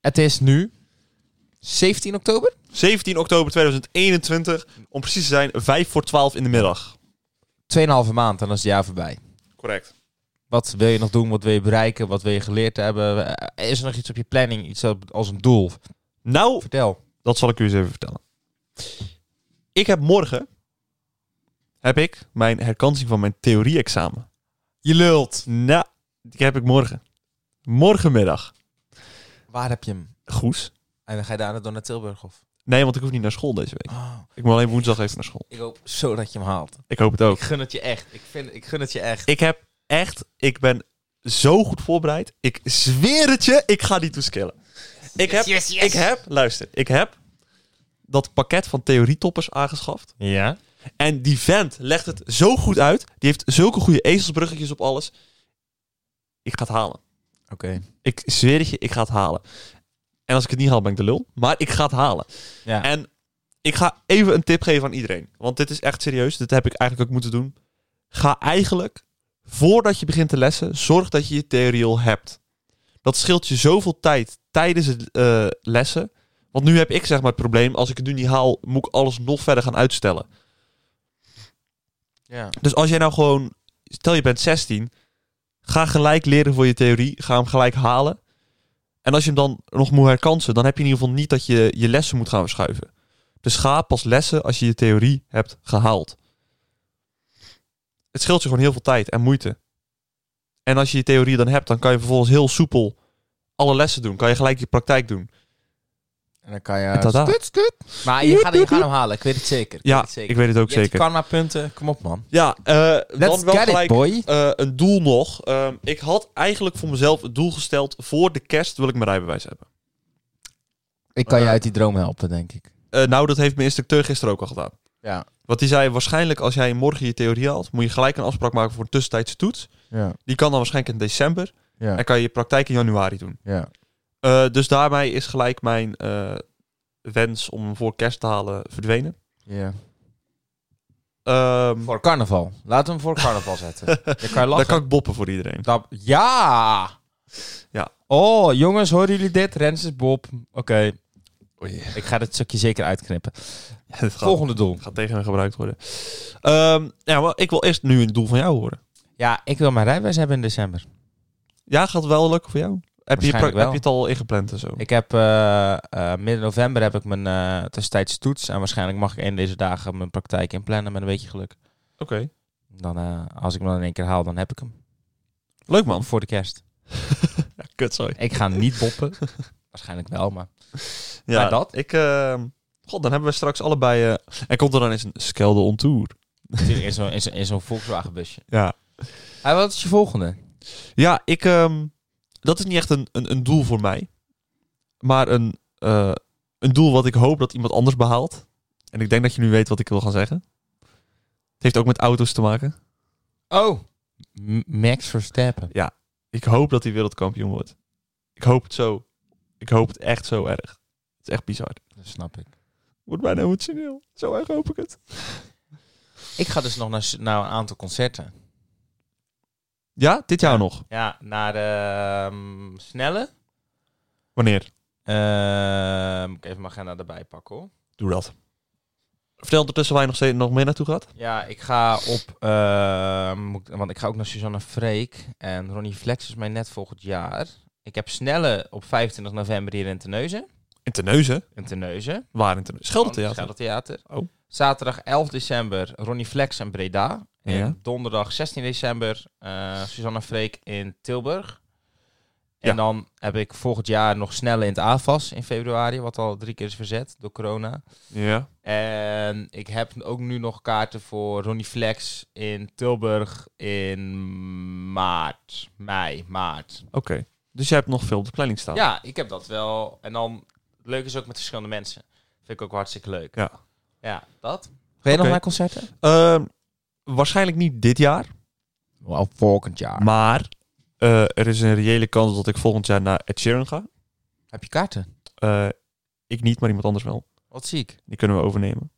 [SPEAKER 2] het is nu... 17 oktober?
[SPEAKER 1] 17 oktober 2021, om precies te zijn, 5 voor 12 in de middag.
[SPEAKER 2] 2,5 maand en dan is het jaar voorbij.
[SPEAKER 1] Correct.
[SPEAKER 2] Wat wil je nog doen? Wat wil je bereiken? Wat wil je geleerd hebben? Eh, Is er nog iets op je planning? Iets als een doel?
[SPEAKER 1] Nou,
[SPEAKER 2] Vertel.
[SPEAKER 1] dat zal ik u eens even vertellen. Ik heb morgen, heb ik mijn herkansing van mijn theorie-examen.
[SPEAKER 2] Je lult.
[SPEAKER 1] Nou, die heb ik morgen. Morgenmiddag.
[SPEAKER 2] Waar heb je hem?
[SPEAKER 1] Goes.
[SPEAKER 2] En dan ga je daarna door naar Tilburg of?
[SPEAKER 1] Nee, want ik hoef niet naar school deze week. Ik moet alleen woensdag even naar school.
[SPEAKER 2] ik hoop zo dat je hem haalt.
[SPEAKER 1] Ik hoop het ook.
[SPEAKER 2] Ik gun het je echt. Ik, vind, ik gun het je echt.
[SPEAKER 1] Ik heb echt, ik ben zo goed voorbereid. Ik zweer het je, ik ga die toeskillen. Ik heb,
[SPEAKER 2] Yes, yes.
[SPEAKER 1] ik heb, luister, ik heb dat pakket van theorietoppers aangeschaft.
[SPEAKER 2] Ja?
[SPEAKER 1] En die vent legt het zo goed uit. Die heeft zulke goede ezelsbruggetjes op alles. Ik ga het halen.
[SPEAKER 2] Oké.
[SPEAKER 1] Ik zweer het je, ik ga het halen. En als ik het niet haal, ben ik de lul. Maar ik ga het halen.
[SPEAKER 2] Ja.
[SPEAKER 1] En ik ga even een tip geven aan iedereen. Want dit is echt serieus. Dit heb ik eigenlijk ook moeten doen. Ga eigenlijk, voordat je begint te lessen, zorg dat je je theorie al hebt. Dat scheelt je zoveel tijd tijdens het eh, lessen. Want nu heb ik zeg maar het probleem, als ik het nu niet haal, moet ik alles nog verder gaan uitstellen.
[SPEAKER 2] ja.
[SPEAKER 1] Dus als jij nou gewoon, stel je bent 16, ga gelijk leren voor je theorie, ga hem gelijk halen. En als je hem dan nog moet herkansen, dan heb je in ieder geval niet dat je je lessen moet gaan verschuiven. Dus ga pas lessen als je je theorie hebt gehaald. Het scheelt je gewoon heel veel tijd en moeite. En als je je theorie dan hebt, dan kan je vervolgens heel soepel alle lessen doen. Kan je gelijk je praktijk doen.
[SPEAKER 2] En dan kan
[SPEAKER 1] En
[SPEAKER 2] je...
[SPEAKER 1] tada.
[SPEAKER 2] Maar je gaat, je gaat hem halen. Ik weet het zeker. Ik weet
[SPEAKER 1] Ja,
[SPEAKER 2] het zeker.
[SPEAKER 1] ik weet het ook
[SPEAKER 2] Je hebt
[SPEAKER 1] zeker.
[SPEAKER 2] karma punten. Kom op man.
[SPEAKER 1] Ja, eh
[SPEAKER 2] Let's
[SPEAKER 1] dan wel
[SPEAKER 2] get it,
[SPEAKER 1] gelijk
[SPEAKER 2] boy.
[SPEAKER 1] eh, een doel nog. Ehm, ik had eigenlijk voor mezelf het doel gesteld... voor de kerst wil ik mijn rijbewijs hebben.
[SPEAKER 2] Ik kan je
[SPEAKER 1] Eh,
[SPEAKER 2] uit die droom helpen, denk ik.
[SPEAKER 1] Eh, nou, dat heeft mijn instructeur gisteren ook al gedaan.
[SPEAKER 2] Ja.
[SPEAKER 1] Want die zei waarschijnlijk als jij morgen je theorie haalt... moet je gelijk een afspraak maken voor een tussentijdse toets.
[SPEAKER 2] Ja.
[SPEAKER 1] Die kan dan waarschijnlijk in december.
[SPEAKER 2] Ja.
[SPEAKER 1] En kan je je praktijk in januari doen.
[SPEAKER 2] Ja.
[SPEAKER 1] Eh, dus daarmee is gelijk mijn eh, wens om hem voor kerst te halen verdwenen.
[SPEAKER 2] ja.
[SPEAKER 1] Ehm
[SPEAKER 2] Voor carnaval. Laten we hem voor carnaval zetten. Dan kan je
[SPEAKER 1] daar
[SPEAKER 2] lachen.
[SPEAKER 1] kan ik boppen voor iedereen.
[SPEAKER 2] Dat- Ja!
[SPEAKER 1] Ja.
[SPEAKER 2] Oh, jongens, horen jullie dit? Rens is Bob. Oké.
[SPEAKER 1] Oei.
[SPEAKER 2] Ik ga dit stukje zeker uitknippen.
[SPEAKER 1] Het gaat,
[SPEAKER 2] Volgende doel.
[SPEAKER 1] gaat tegen hem gebruikt worden. Ehm, ja, maar ik wil eerst nu een doel van jou horen.
[SPEAKER 2] Ja, ik wil mijn rijbewijs hebben in december.
[SPEAKER 1] Ja, gaat wel lukken voor jou? Heb je,
[SPEAKER 2] Waarschijnlijk
[SPEAKER 1] pra- heb
[SPEAKER 2] wel.
[SPEAKER 1] je het al ingepland en zo?
[SPEAKER 2] Ik heb eh, eh, midden november heb ik mijn eh tussentijds toets. En waarschijnlijk mag ik een deze dagen mijn praktijk inplannen met een beetje geluk.
[SPEAKER 1] Oké.
[SPEAKER 2] Dan, eh, als ik hem dan in één keer haal, dan heb ik hem.
[SPEAKER 1] Leuk man.
[SPEAKER 2] Voor de kerst.
[SPEAKER 1] Kut, sorry.
[SPEAKER 2] Ik ga niet boppen. waarschijnlijk wel, maar...
[SPEAKER 1] Ja,
[SPEAKER 2] Maar dat?
[SPEAKER 1] Ik, ehm, god, dan hebben we straks allebei... eh, en komt er dan eens een skelde on tour.
[SPEAKER 2] Natuurlijk in zo'n in zo'n- in zo'n Volkswagen busje.
[SPEAKER 1] Ja.
[SPEAKER 2] Hey, wat is je volgende?
[SPEAKER 1] Ja, ik... ehm, dat is niet echt een, een, een doel voor mij. Maar een, eh, een doel wat ik hoop dat iemand anders behaalt. En ik denk dat je nu weet wat ik wil gaan zeggen. Het heeft ook met auto's te maken.
[SPEAKER 2] Oh! M- Max Verstappen.
[SPEAKER 1] Ik hoop dat hij wereldkampioen wordt. Ik hoop het zo. Ik hoop het echt zo erg. Het is is echt bizar.
[SPEAKER 2] Dat snap ik.
[SPEAKER 1] Wordt bijna emotioneel. Zo erg hoop ik het.
[SPEAKER 2] Ik ga dus nog naar, s- naar een aantal concerten.
[SPEAKER 1] Ja, dit jaar nog.
[SPEAKER 2] Ja, naar ehm, Snelle.
[SPEAKER 1] Wanneer?
[SPEAKER 2] Ehm, moet ik even mijn agenda erbij pakken hoor.
[SPEAKER 1] Doe dat. Vertel ondertussen waar je nog, steeds, nog meer naartoe gaat.
[SPEAKER 2] Ja, ik ga op... ehm, moet ik- want ik ga ook naar Susanne Freek. En Ronnie Flex is mij net volgend jaar. Ik heb Snelle op 25 november hier in Terneuzen.
[SPEAKER 1] In Terneuzen?
[SPEAKER 2] In Terneuzen.
[SPEAKER 1] Waar in Terneuzen? Scheldentheater.
[SPEAKER 2] Theater.
[SPEAKER 1] Oh.
[SPEAKER 2] Zaterdag 11 december Ronnie Flex en Breda. En
[SPEAKER 1] Ja.
[SPEAKER 2] donderdag 16 december eh Susanne Freek in Tilburg. En
[SPEAKER 1] Ja.
[SPEAKER 2] dan heb ik volgend jaar nog snelle in het AFAS in februari, wat al drie keer is verzet door corona.
[SPEAKER 1] Ja.
[SPEAKER 2] En ik heb ook nu nog kaarten voor Ronnie Flex in Tilburg in maart, mei, maart.
[SPEAKER 1] Oké. Dus jij hebt nog veel op de planning staan.
[SPEAKER 2] Ja, ik heb dat wel. En dan, het leuke is ook met verschillende mensen. Vind ik ook hartstikke leuk.
[SPEAKER 1] Ja.
[SPEAKER 2] Ja, dat. Ga je
[SPEAKER 1] nog naar
[SPEAKER 2] concerten?
[SPEAKER 1] Ehm, waarschijnlijk niet dit jaar.
[SPEAKER 2] Wel volgend jaar.
[SPEAKER 1] Maar eh, er is een reële kans dat ik volgend jaar naar Ed Sheeran ga.
[SPEAKER 2] Heb je kaarten?
[SPEAKER 1] Eh, ik niet, maar iemand anders wel.
[SPEAKER 2] Wat ziek.
[SPEAKER 1] Die kunnen we overnemen.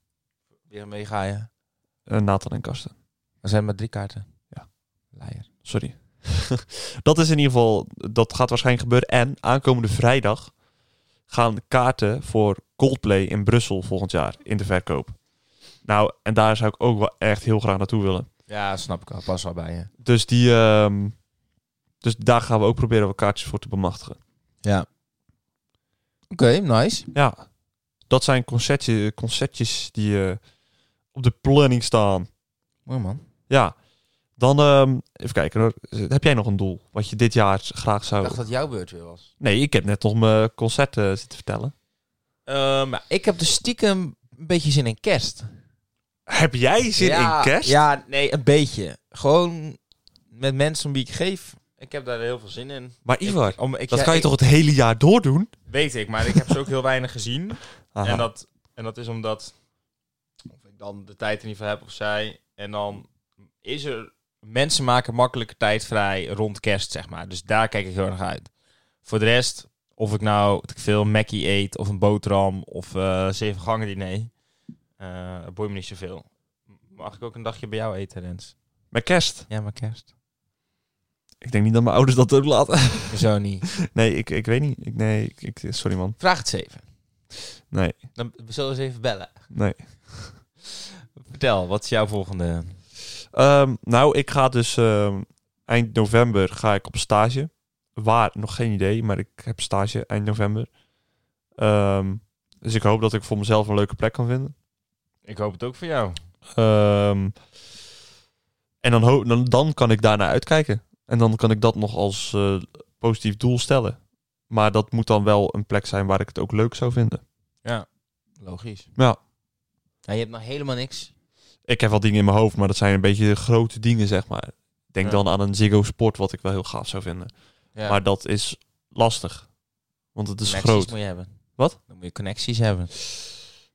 [SPEAKER 2] Weer mee ga je.
[SPEAKER 1] Eh, Nathan en Karsten.
[SPEAKER 2] Er zijn maar drie kaarten.
[SPEAKER 1] Ja.
[SPEAKER 2] Leier.
[SPEAKER 1] Sorry. dat is in ieder geval, dat gaat waarschijnlijk gebeuren. En aankomende vrijdag gaan de kaarten voor Coldplay in Brussel volgend jaar in de verkoop. Nou, en daar zou ik ook wel echt heel graag naartoe willen.
[SPEAKER 2] Ja, snap ik al. Pas wel bij je.
[SPEAKER 1] Dus, die, ehm, dus daar gaan we ook proberen wat kaartjes voor te bemachtigen.
[SPEAKER 2] Ja. Oké, nice.
[SPEAKER 1] Ja, dat zijn concertje, concertjes die eh, op de planning staan.
[SPEAKER 2] Mooi man.
[SPEAKER 1] Ja, dan ehm, even kijken hoor. Heb jij nog een doel wat je dit jaar graag
[SPEAKER 2] Ik
[SPEAKER 1] zou...
[SPEAKER 2] dacht dat jouw beurt weer was.
[SPEAKER 1] Nee, ik heb net nog mijn concert eh, zitten vertellen.
[SPEAKER 2] ik heb dus stiekem een beetje zin in kerst.
[SPEAKER 1] Heb jij zin
[SPEAKER 2] ja,
[SPEAKER 1] in kerst?
[SPEAKER 2] Ja, nee, een beetje. Gewoon met mensen om wie ik geef. Ik heb daar heel veel zin in.
[SPEAKER 1] Maar Ivar,
[SPEAKER 2] Ik- om, ik,
[SPEAKER 1] dat
[SPEAKER 2] ja,
[SPEAKER 1] kan je
[SPEAKER 2] ik-
[SPEAKER 1] toch het hele jaar doordoen?
[SPEAKER 2] Weet ik, maar ik heb ze ook heel weinig gezien.
[SPEAKER 1] Aha.
[SPEAKER 2] En dat, en dat is omdat of ik dan de tijd er niet voor heb of zij. En dan is er... Mensen maken makkelijker tijd vrij rond kerst, zeg maar. Dus daar kijk ik heel erg naar uit. Voor de rest, of ik nou wat ik veel Mackie eet of een boterham of eh zeven gangen diner. eh boeit me niet zoveel. Mag ik ook een dagje bij jou eten, Rens?
[SPEAKER 1] Met kerst?
[SPEAKER 2] Ja, maar kerst.
[SPEAKER 1] Ik denk niet dat mijn ouders dat ook laten.
[SPEAKER 2] Zo niet.
[SPEAKER 1] Nee, ik, ik weet niet. Ik, nee, ik, ik- sorry man.
[SPEAKER 2] Vraag het eens even.
[SPEAKER 1] Nee,
[SPEAKER 2] Dan we zullen ze even bellen.
[SPEAKER 1] nee.
[SPEAKER 2] Vertel, wat is jouw volgende...
[SPEAKER 1] Ehm, nou, ik ga dus ehm, eind november ga ik op stage. Waar? Nog geen idee, maar ik heb stage eind november. Ehm, dus ik hoop dat ik voor mezelf een leuke plek kan vinden.
[SPEAKER 2] Ik hoop het ook voor jou.
[SPEAKER 1] Ehm, en dan, ho- dan, dan kan ik daarna uitkijken. En dan kan ik dat nog als eh, positief doel stellen. Maar dat moet dan wel een plek zijn waar ik het ook leuk zou vinden.
[SPEAKER 2] Logisch.
[SPEAKER 1] Ja.
[SPEAKER 2] En je hebt nog helemaal niks.
[SPEAKER 1] Ik heb wel dingen in mijn hoofd, maar dat zijn een beetje grote dingen, zeg maar. Denk
[SPEAKER 2] Ja.
[SPEAKER 1] dan aan een Ziggo Sport, wat ik wel heel gaaf zou vinden.
[SPEAKER 2] Ja.
[SPEAKER 1] Maar dat is lastig. Want het is
[SPEAKER 2] connecties
[SPEAKER 1] groot.
[SPEAKER 2] moet je hebben.
[SPEAKER 1] Wat?
[SPEAKER 2] Dan moet je connecties hebben.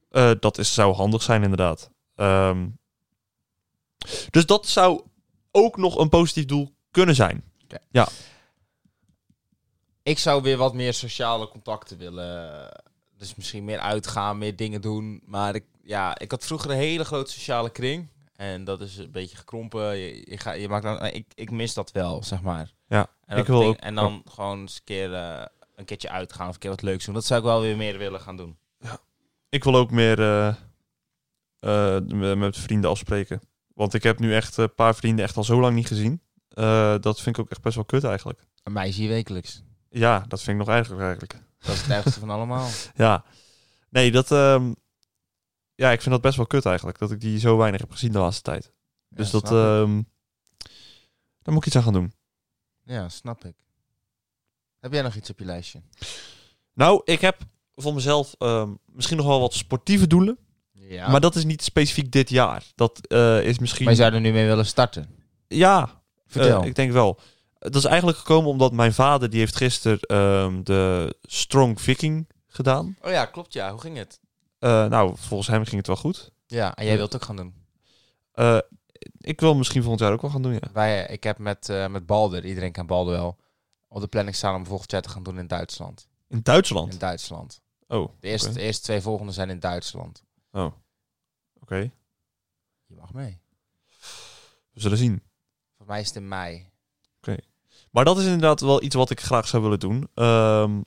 [SPEAKER 1] Eh, dat is, zou handig zijn, inderdaad. Ehm, dus dat zou ook nog een positief doel kunnen zijn.
[SPEAKER 2] Ik zou weer wat meer sociale contacten willen. Dus misschien meer uitgaan, meer dingen doen. Maar ik, ja, ik had vroeger een hele grote sociale kring. En dat is een beetje gekrompen. Je, je, ga, je maakt dan, eh, ik, ik mis dat wel, zeg maar.
[SPEAKER 1] Ja,
[SPEAKER 2] En,
[SPEAKER 1] ik
[SPEAKER 2] dat
[SPEAKER 1] wil
[SPEAKER 2] ding-
[SPEAKER 1] ook-
[SPEAKER 2] en dan gewoon eens een keer, eh, een keertje uitgaan of een keer wat leuks doen. Dat zou ik wel weer meer willen gaan doen.
[SPEAKER 1] Ik wil ook meer eh, eh, m- met vrienden afspreken. Want ik heb nu echt een paar vrienden echt al zo lang niet gezien. Eh, dat vind ik ook echt best wel kut eigenlijk.
[SPEAKER 2] Een meisje wekelijks.
[SPEAKER 1] Ja, dat vind ik nog eigenlijk eigenlijk.
[SPEAKER 2] Dat is het ergste van allemaal.
[SPEAKER 1] Ja. Nee, dat... ehm, ja, ik vind dat best wel kut eigenlijk. Dat ik die zo weinig heb gezien de laatste tijd. Dus
[SPEAKER 2] Ja,
[SPEAKER 1] dat...
[SPEAKER 2] snap ik.
[SPEAKER 1] ehm, daar moet ik iets aan gaan doen.
[SPEAKER 2] Ja, snap ik. Heb jij nog iets op je lijstje?
[SPEAKER 1] Nou, ik heb voor mezelf ehm, misschien nog wel wat sportieve doelen.
[SPEAKER 2] Ja.
[SPEAKER 1] Maar
[SPEAKER 2] Maar,
[SPEAKER 1] dat is niet specifiek dit jaar. Dat eh, is misschien...
[SPEAKER 2] je zou er nu mee willen starten.
[SPEAKER 1] Ja,
[SPEAKER 2] Vertel.
[SPEAKER 1] Eh, ik denk wel. Dat is eigenlijk gekomen omdat mijn vader, die heeft gisteren ehm, de Strong Viking gedaan.
[SPEAKER 2] oh ja, klopt ja. Hoe ging het?
[SPEAKER 1] Eh, nou, volgens hem ging het wel goed.
[SPEAKER 2] Ja, en jij wilt ook gaan doen.
[SPEAKER 1] Eh, ik wil misschien volgend jaar ook wel gaan doen, ja.
[SPEAKER 2] Wij, eh, ik heb met, eh, met Balder, iedereen kent Balder wel, op de planning staan om volgend jaar te gaan doen in Duitsland.
[SPEAKER 1] In Duitsland.
[SPEAKER 2] In Duitsland.
[SPEAKER 1] Oh, oké.
[SPEAKER 2] De eerste,
[SPEAKER 1] Oké.
[SPEAKER 2] de eerste twee volgende zijn in Duitsland. Je mag mee.
[SPEAKER 1] We zullen zien.
[SPEAKER 2] Voor mij is het in mei.
[SPEAKER 1] Maar dat is inderdaad wel iets wat ik graag zou willen doen. Ehm,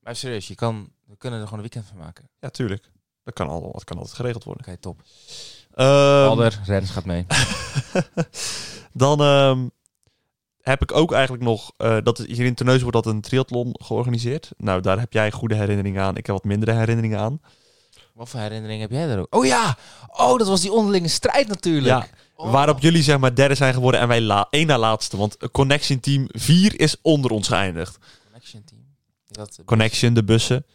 [SPEAKER 2] Maar serieus, je kan, we kunnen er gewoon een weekend van maken. Oké,
[SPEAKER 1] ja, tuurlijk. Dat kan, al, dat kan altijd geregeld worden.
[SPEAKER 2] top.
[SPEAKER 1] Ehm,
[SPEAKER 2] Alder, Rens gaat mee.
[SPEAKER 1] Dan ehm, heb ik ook eigenlijk nog... eh, dat is- hier in Terneuzen wordt dat een triathlon georganiseerd. Nou, daar heb jij goede herinneringen aan. Ik heb wat mindere herinneringen aan.
[SPEAKER 2] Wat voor herinneringen heb jij daar ook? Oh ja! Oh, dat was die onderlinge strijd natuurlijk.
[SPEAKER 1] Ja,
[SPEAKER 2] Oh.
[SPEAKER 1] Waarop jullie zeg maar derde zijn geworden en wij la één na laatste. Want Connection Team 4 is onder ons geëindigd.
[SPEAKER 2] Connection team. Is dat...
[SPEAKER 1] Connection, de bussen,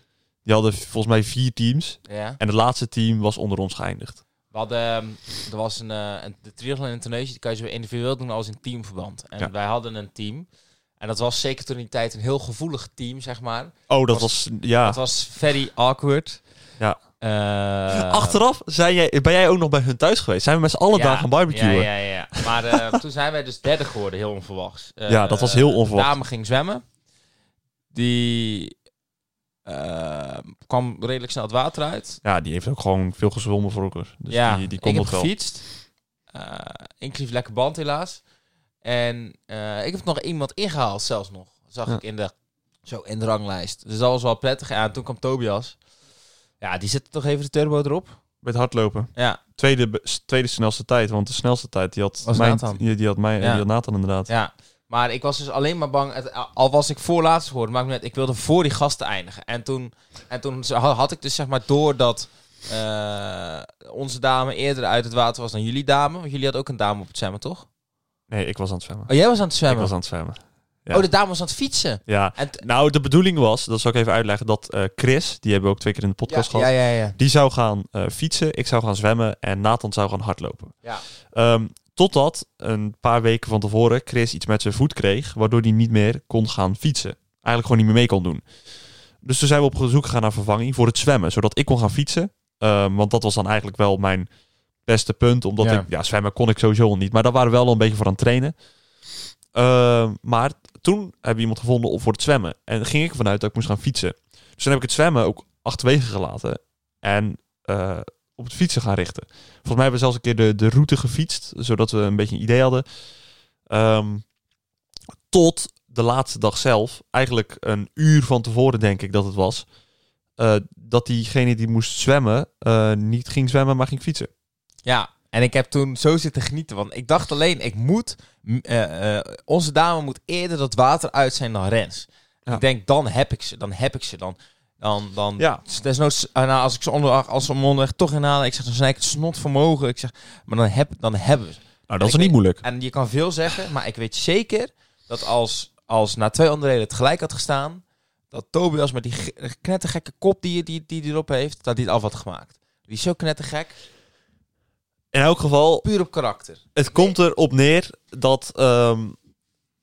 [SPEAKER 1] die hadden volgens mij vier teams.
[SPEAKER 2] Ja.
[SPEAKER 1] En het laatste team was onder ons geëindigd.
[SPEAKER 2] We hadden, ehm, er was een, eh, een de triathlon in Tunesië, die kan je zo individueel doen als in teamverband. En
[SPEAKER 1] Ja.
[SPEAKER 2] wij hadden een team. En dat was zeker toen in die tijd een heel gevoelig team, zeg maar.
[SPEAKER 1] Oh, dat
[SPEAKER 2] Was-
[SPEAKER 1] was... ja.
[SPEAKER 2] Het was very awkward.
[SPEAKER 1] Ja.
[SPEAKER 2] Eh,
[SPEAKER 1] Achteraf zijn jij, ben jij ook nog bij hun thuis geweest. Zijn we met z'n allen daar gaan barbecuen.
[SPEAKER 2] Ja, ja, ja. Maar eh, toen zijn wij dus derde geworden, heel onverwachts. Eh,
[SPEAKER 1] Ja, dat was heel onverwacht.
[SPEAKER 2] De dame ging zwemmen. Die eh, kwam redelijk snel het water uit.
[SPEAKER 1] Ja, die heeft ook gewoon veel gezwommen voor elkaar. Dus
[SPEAKER 2] ja,
[SPEAKER 1] die, die
[SPEAKER 2] ik
[SPEAKER 1] kon
[SPEAKER 2] heb
[SPEAKER 1] dat wel.
[SPEAKER 2] gefietst. Eh, inclusief lekker band helaas. En eh, ik heb nog iemand ingehaald zelfs nog. Zag
[SPEAKER 1] Ja.
[SPEAKER 2] ik in de, zo in de ranglijst. Dus dat was wel prettig. Ja, en toen kwam Tobias. Ja, die zette toch even de turbo erop.
[SPEAKER 1] Met hardlopen.
[SPEAKER 2] Ja,
[SPEAKER 1] Tweede, be- s- tweede snelste tijd, want de snelste tijd die had
[SPEAKER 2] Was
[SPEAKER 1] mijn,
[SPEAKER 2] Nathan.
[SPEAKER 1] Die, die had mij,
[SPEAKER 2] Ja.
[SPEAKER 1] die had Nathan inderdaad.
[SPEAKER 2] Ja, maar ik was dus alleen maar bang. het- al was ik voorlaatst geworden, maar ik, net, ik wilde voor die gasten eindigen. En toen, en toen z- ha- had ik dus zeg maar door dat eh, onze dame eerder uit het water was dan jullie dame. Want jullie hadden ook een dame op het zwemmen, toch?
[SPEAKER 1] Nee, ik was aan het zwemmen.
[SPEAKER 2] Oh, jij was aan het
[SPEAKER 1] Ik
[SPEAKER 2] zwemmen.
[SPEAKER 1] was aan het zwemmen. ja.
[SPEAKER 2] Oh, de dame was aan het fietsen.
[SPEAKER 1] Ja.
[SPEAKER 2] En t-
[SPEAKER 1] Nou, de bedoeling was, dat zal ik even uitleggen, dat eh, Chris, die hebben we ook twee keer in de
[SPEAKER 2] ja,
[SPEAKER 1] podcast
[SPEAKER 2] ja,
[SPEAKER 1] gehad,
[SPEAKER 2] ja, ja.
[SPEAKER 1] die zou gaan eh, fietsen, ik zou gaan zwemmen en Nathan zou gaan hardlopen.
[SPEAKER 2] Ja.
[SPEAKER 1] Ehm, totdat een paar weken van tevoren Chris iets met zijn voet kreeg, waardoor hij niet meer kon gaan fietsen. Eigenlijk gewoon niet meer mee kon doen. Dus toen zijn we op zoek gegaan naar vervanging voor het zwemmen, zodat ik kon gaan fietsen. Ehm, want dat was dan eigenlijk wel mijn beste punt, omdat
[SPEAKER 2] Ja.
[SPEAKER 1] ik, ja, zwemmen kon ik sowieso al niet, maar daar waren we wel al een beetje voor aan het trainen. Ehm, maar toen hebben we iemand gevonden om voor het zwemmen. En ging ik ervan uit dat ik moest gaan fietsen. Dus toen heb ik het zwemmen ook achterwege gelaten. En eh, op het fietsen gaan richten. Volgens mij hebben we zelfs een keer de, de route gefietst. Zodat we een beetje een idee hadden. Ehm, tot de laatste dag zelf. Eigenlijk een uur van tevoren denk ik dat het was. eh, dat diegene die moest zwemmen eh, niet ging zwemmen, maar ging fietsen.
[SPEAKER 2] Ja, en ik heb toen zo zitten genieten. Want ik dacht alleen, ik moet... m, eh, eh, onze dame moet eerder dat water uit zijn dan Rens.
[SPEAKER 1] Ja.
[SPEAKER 2] Ik denk, dan heb ik ze. Dan heb ik ze. Dan, dan, dan,
[SPEAKER 1] Ja.
[SPEAKER 2] Dus Desnoods, eh, nou, als ik ze onderweg, als ze hem onderweg toch inhalen... Ik zeg, dan snij ik het snot vermogen. Ik zeg, maar dan, heb, dan hebben we ze.
[SPEAKER 1] Nou,
[SPEAKER 2] dat
[SPEAKER 1] dat is
[SPEAKER 2] is Ik- niet
[SPEAKER 1] niet moeilijk.
[SPEAKER 2] En je kan veel zeggen, maar ik weet zeker... dat als, als na twee onderdelen het gelijk had gestaan... dat Tobias met die g- knettergekke kop die hij die, die, die erop heeft... dat hij het af had gemaakt. Die is zo knettergek.
[SPEAKER 1] In elk geval,
[SPEAKER 2] Puur op karakter.
[SPEAKER 1] Het komt erop neer dat ehm,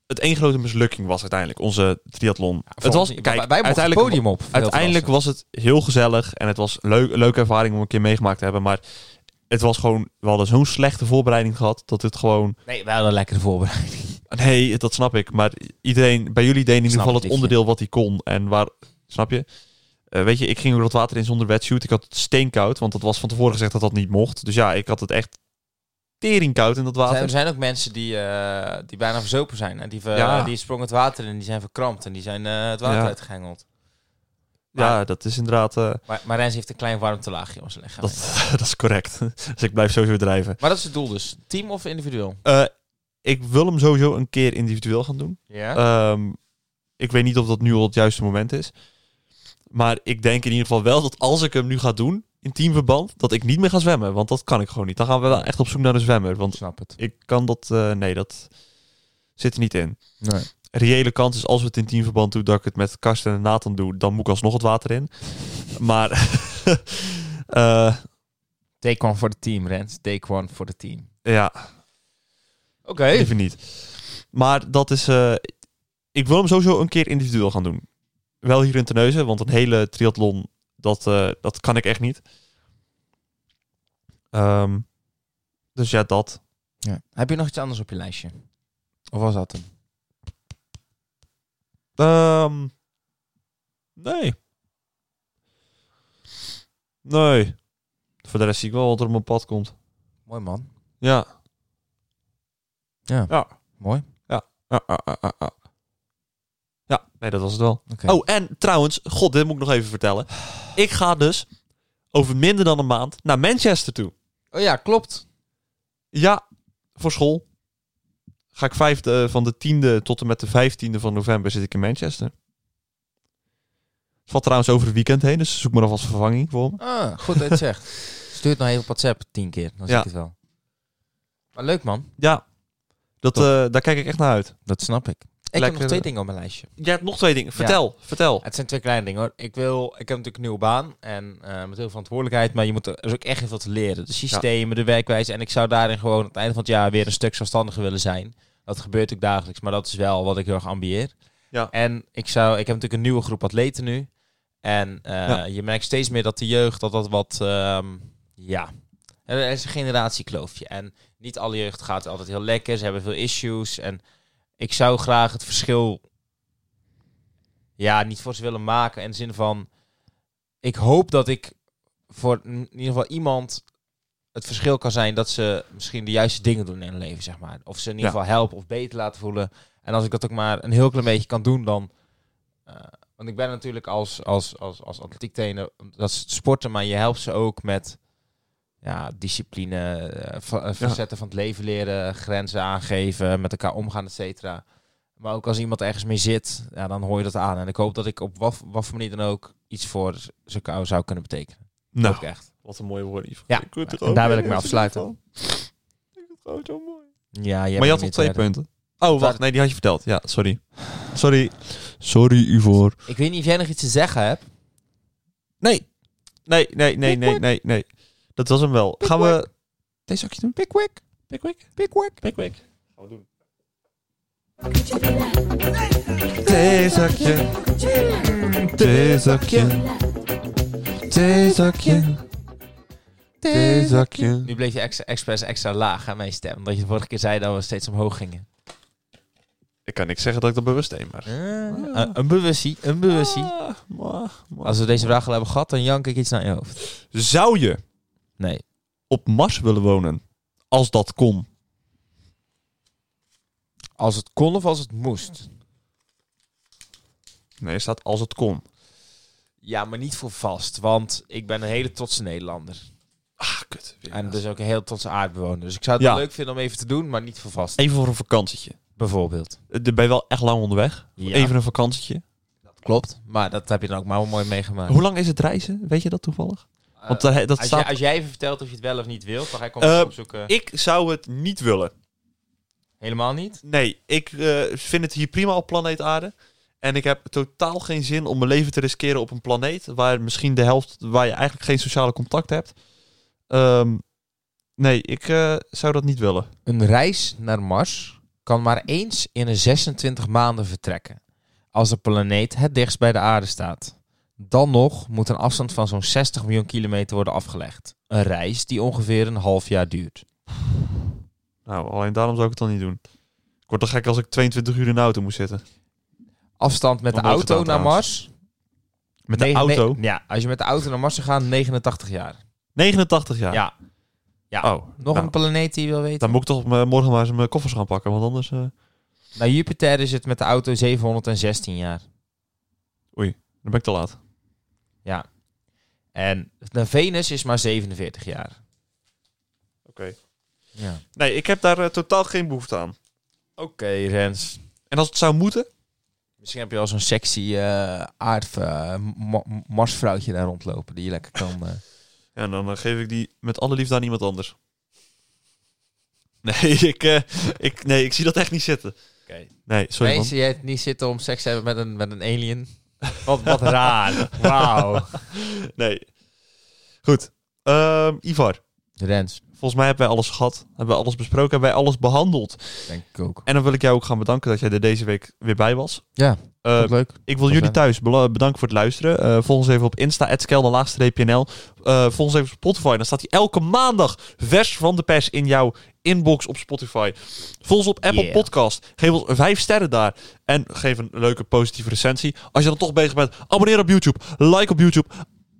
[SPEAKER 1] het één grote mislukking was uiteindelijk, onze triathlon. het was, kijk,
[SPEAKER 2] wij, wij mochten
[SPEAKER 1] uiteindelijk,
[SPEAKER 2] het podium op. Heel
[SPEAKER 1] uiteindelijk
[SPEAKER 2] verrassend.
[SPEAKER 1] was het heel gezellig en het was leuk, een leuke ervaring om een keer meegemaakt te hebben. Maar het was gewoon, we hadden zo'n slechte voorbereiding gehad dat het gewoon...
[SPEAKER 2] Nee, wij hadden een lekkere voorbereiding.
[SPEAKER 1] Nee, dat snap ik, maar iedereen, bij jullie deed in ieder
[SPEAKER 2] Snap
[SPEAKER 1] geval het
[SPEAKER 2] het liedje.
[SPEAKER 1] onderdeel wat hij kon. En waar, snap je? Eh, weet je, ik ging ook dat water in zonder wetsuit. Ik had het steenkoud, want dat was van tevoren gezegd dat dat niet mocht. Dus ja, ik had het echt teringkoud in dat
[SPEAKER 2] Er zijn,
[SPEAKER 1] water.
[SPEAKER 2] er zijn ook mensen die, eh, die bijna verzopen zijn. En die, ver-
[SPEAKER 1] Ja.
[SPEAKER 2] die sprongen het water in en die zijn verkrampt. En die zijn eh, het water
[SPEAKER 1] Ja.
[SPEAKER 2] uitgehengeld.
[SPEAKER 1] Ja, dat is inderdaad... eh,
[SPEAKER 2] Maar, maar Rens heeft een klein warmtelaagje om zijn lichaam.
[SPEAKER 1] Dat, dat is correct. Dus ik blijf sowieso drijven.
[SPEAKER 2] Maar dat is het doel dus. Team of individueel?
[SPEAKER 1] Eh, ik wil hem sowieso een keer individueel gaan doen.
[SPEAKER 2] Ja.
[SPEAKER 1] Ehm, ik weet niet of dat nu al het juiste moment is. Maar ik denk in ieder geval wel dat als ik hem nu ga doen, in teamverband, dat ik niet meer ga zwemmen. Want dat kan ik gewoon niet. Dan gaan we wel echt op zoek naar een zwemmer. Want
[SPEAKER 2] snap het.
[SPEAKER 1] ik kan dat... eh, nee, dat zit er niet in.
[SPEAKER 2] Nee.
[SPEAKER 1] Reële kans is als we het in teamverband doen, dat ik het met Karsten en Nathan doe. Dan moet ik alsnog het water in. Maar... eh,
[SPEAKER 2] Take one voor het team, Rens. Take one voor het team.
[SPEAKER 1] ja,
[SPEAKER 2] Oké.
[SPEAKER 1] Even niet. Maar dat is... eh, ik wil hem sowieso een keer individueel gaan doen. Wel hier in Terneuzen, want een hele triathlon, dat, eh, dat kan ik echt niet. Ehm, dus ja, dat.
[SPEAKER 2] Ja. Heb je nog iets anders op je lijstje? Of was dat hem?
[SPEAKER 1] Ehm, nee. Nee. Voor de rest zie ik wel wat er op mijn pad komt.
[SPEAKER 2] Mooi man.
[SPEAKER 1] Ja.
[SPEAKER 2] Ja.
[SPEAKER 1] Ja.
[SPEAKER 2] Mooi.
[SPEAKER 1] Ah, ah, ah, ah, ah. Ja, nee, dat was het wel.
[SPEAKER 2] Oké.
[SPEAKER 1] Oh, en trouwens, god, dit moet ik nog even vertellen. Ik ga dus over minder dan een maand naar Manchester toe.
[SPEAKER 2] Oh ja, klopt.
[SPEAKER 1] Ja, voor school. Ga ik vijf, eh, van de 10e tot en met de 15e van november zit ik in Manchester. Het valt trouwens over het weekend heen, dus zoek me alvast vervanging voor me.
[SPEAKER 2] Ah, goed dat je het zegt. Stuur het nog even op WhatsApp tien keer, dan zie
[SPEAKER 1] Ja.
[SPEAKER 2] ik het wel. Maar leuk man,
[SPEAKER 1] Ja, dat,
[SPEAKER 2] Top.
[SPEAKER 1] eh, daar kijk ik echt naar uit.
[SPEAKER 2] dat snap ik. Ik heb nog
[SPEAKER 1] Lekker. eh,
[SPEAKER 2] twee dingen op mijn lijstje.
[SPEAKER 1] Jij hebt nog twee dingen. Vertel, vertel.
[SPEAKER 2] Het zijn twee kleine dingen hoor. Ik, wil, ik heb natuurlijk een nieuwe baan en eh, met heel veel verantwoordelijkheid, maar je moet er, er is ook echt heel veel te leren. De systemen, de werkwijze. En ik zou daarin gewoon aan het einde van het jaar weer een stuk zelfstandiger willen zijn. Dat gebeurt ook dagelijks, maar dat is wel wat ik heel erg ambieer.
[SPEAKER 1] Ja.
[SPEAKER 2] En ik, zou, ik heb natuurlijk een nieuwe groep atleten nu. En eh,
[SPEAKER 1] Ja.
[SPEAKER 2] je merkt steeds meer dat de jeugd, dat dat wat, ehm, ja, er er is een generatiekloofje. En niet alle jeugd gaat altijd heel lekker, ze hebben veel issues. En ik zou graag het verschil ja, niet voor ze willen maken. In de zin van, ik hoop dat ik voor in ieder geval iemand het verschil kan zijn dat ze misschien de juiste dingen doen in hun leven, zeg maar. Of ze in ieder
[SPEAKER 1] Ja.
[SPEAKER 2] geval helpen of beter laten voelen. En als ik dat ook maar een heel klein beetje kan doen, dan... eh, want ik ben natuurlijk als, als, als, als atletiek trainer, dat is het sporten, maar je helpt ze ook met ja, discipline, eh, va- eh, facetten van het leven leren, grenzen aangeven, met elkaar omgaan, et cetera. Maar ook als iemand ergens mee zit, ja, dan hoor je dat aan. En ik hoop dat ik op wat, wat voor manier dan ook iets voor ze kou- zou kunnen betekenen.
[SPEAKER 1] Nou,
[SPEAKER 2] Ook echt.
[SPEAKER 1] wat een mooie woorden, Ivo.
[SPEAKER 2] Ja,
[SPEAKER 1] Ik word er
[SPEAKER 2] en
[SPEAKER 1] ook
[SPEAKER 2] daar wil
[SPEAKER 1] weer
[SPEAKER 2] ik mee
[SPEAKER 1] eens in ieder
[SPEAKER 2] afsluiten.
[SPEAKER 1] geval. Ik vind het gewoon zo mooi.
[SPEAKER 2] Ja,
[SPEAKER 1] maar je had nog twee
[SPEAKER 2] eh,
[SPEAKER 1] punten. Oh, wacht. Nee, die had je verteld. Ja, sorry. Sorry. Sorry, Ivor.
[SPEAKER 2] Ik weet niet of jij nog iets te zeggen hebt.
[SPEAKER 1] Nee. Nee, nee, nee, nee, nee, nee. Dat was hem wel. Gaan we... Deze zakje doen? Pickwick. Pickwick. Pickwick. Pickwick. Gaan we doen. Theezakje. Theezakje. Theezakje. Theezakje.
[SPEAKER 2] Nu bleef je extra, expres extra laag aan mijn stem. Omdat je de vorige keer zei dat we steeds omhoog gingen.
[SPEAKER 1] Ik kan niks zeggen dat ik dat bewust deed, maar...
[SPEAKER 2] Eh, een bewustie, een bewustie.
[SPEAKER 1] Ah, maar, maar.
[SPEAKER 2] Als we deze vraag al hebben gehad, dan jank ik iets naar je hoofd.
[SPEAKER 1] Zou je
[SPEAKER 2] Nee.
[SPEAKER 1] op Mars willen wonen? Als dat kon.
[SPEAKER 2] Als het kon of als het moest.
[SPEAKER 1] Nee, er staat als het kon.
[SPEAKER 2] Ja, maar niet voor vast. Want ik ben een hele trotse Nederlander.
[SPEAKER 1] Ah, kut.
[SPEAKER 2] En dus ook een heel trotse aardbewoner. Dus ik zou het
[SPEAKER 1] Ja.
[SPEAKER 2] wel leuk vinden om even te doen, maar niet voor vast.
[SPEAKER 1] Even voor een vakantietje.
[SPEAKER 2] Bijvoorbeeld.
[SPEAKER 1] Eh, Ben je wel echt lang onderweg?
[SPEAKER 2] Ja,
[SPEAKER 1] Even een vakantietje.
[SPEAKER 2] dat klopt. Maar dat heb je dan ook maar wel mooi meegemaakt. Eh,
[SPEAKER 1] Hoe lang is het reizen? Weet je dat toevallig? Want daar, dat
[SPEAKER 2] als,
[SPEAKER 1] staat...
[SPEAKER 2] jij, als jij even vertelt of je het wel of niet wilt, dan ga ik
[SPEAKER 1] Eh,
[SPEAKER 2] ons opzoeken.
[SPEAKER 1] Ik zou het niet willen.
[SPEAKER 2] Helemaal niet?
[SPEAKER 1] Nee, ik eh, vind het hier prima op planeet aarde. En ik heb totaal geen zin om mijn leven te riskeren op een planeet... waar misschien de helft... waar je eigenlijk geen sociale contact hebt. Ehm, nee, ik eh, zou dat niet willen.
[SPEAKER 2] Een reis naar Mars kan maar eens in een 26 maanden vertrekken. Als de planeet het dichtst bij de aarde staat. Dan nog moet een afstand van zo'n 60 miljoen kilometer worden afgelegd. Een reis die ongeveer een half jaar duurt.
[SPEAKER 1] Nou, alleen daarom zou ik het dan niet doen. Ik word toch gek als ik 22 uur in de auto moet zitten.
[SPEAKER 2] Afstand met de
[SPEAKER 1] Onmogelijk
[SPEAKER 2] auto
[SPEAKER 1] gedaan
[SPEAKER 2] naar
[SPEAKER 1] trouwens.
[SPEAKER 2] Mars
[SPEAKER 1] Met de
[SPEAKER 2] Negen-
[SPEAKER 1] auto?
[SPEAKER 2] ne- ja, als je met de auto naar Mars zou gaan, 89 jaar.
[SPEAKER 1] 89 jaar?
[SPEAKER 2] Ja. Ja.
[SPEAKER 1] Oh,
[SPEAKER 2] Nog
[SPEAKER 1] nou,
[SPEAKER 2] een planeet die je wil weten?
[SPEAKER 1] Dan moet ik toch eh, morgen maar eens mijn koffers gaan pakken, want anders... eh,
[SPEAKER 2] Naar Nou, Jupiter is het met de auto 716 jaar.
[SPEAKER 1] Dan ben ik te laat.
[SPEAKER 2] Ja. En naar Venus is maar 47 jaar.
[SPEAKER 1] Oké.
[SPEAKER 2] Ja.
[SPEAKER 1] Nee, ik heb daar eh, totaal geen behoefte aan.
[SPEAKER 2] Oké, Rens.
[SPEAKER 1] En als het zou moeten?
[SPEAKER 2] Misschien heb je al zo'n sexy eh aard, eh, ma- Marsvrouwtje daar rondlopen die je lekker kan... eh,
[SPEAKER 1] Ja, dan eh, geef ik die met alle liefde aan iemand anders. Nee, ik, eh, ik, nee, ik zie dat echt niet zitten. Nee, sorry
[SPEAKER 2] Nee,
[SPEAKER 1] man.
[SPEAKER 2] zie jij het niet zitten om seks te hebben met een, met een alien? Wat, wat raar. Wauw.
[SPEAKER 1] Nee. Goed. Ehm, Ivar,
[SPEAKER 2] Rens,
[SPEAKER 1] volgens mij hebben wij alles gehad. Hebben we alles besproken, hebben wij alles behandeld.
[SPEAKER 2] denk ik ook.
[SPEAKER 1] En dan wil ik jou ook gaan bedanken dat jij er deze week weer bij was.
[SPEAKER 2] Ja,
[SPEAKER 1] Eh,
[SPEAKER 2] vond ik leuk.
[SPEAKER 1] Ik wil jullie thuis bela- bedanken voor het luisteren. Eh volg ons even op Insta, @skelderlaagstreepnl. Eh volg ons even op Spotify. Dan staat hij elke maandag vers van de pers in jouw inbox op Spotify. Volg ons op Apple
[SPEAKER 2] Yeah.
[SPEAKER 1] Podcast. Geef ons vijf sterren daar. En geef een leuke positieve recensie. Als je dan toch bezig bent, abonneer op YouTube. Like op YouTube.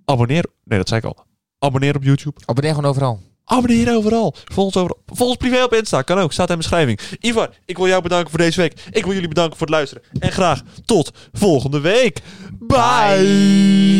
[SPEAKER 1] Abonneer... Nee, dat zei ik al. Abonneer op YouTube.
[SPEAKER 2] Abonneer gewoon overal.
[SPEAKER 1] Abonneer overal. Volg ons, over, volg ons privé op Insta. Kan ook. Staat in de beschrijving. Ivar, ik wil jou bedanken voor deze week. Ik wil jullie bedanken voor het luisteren. En graag tot volgende week. Bye.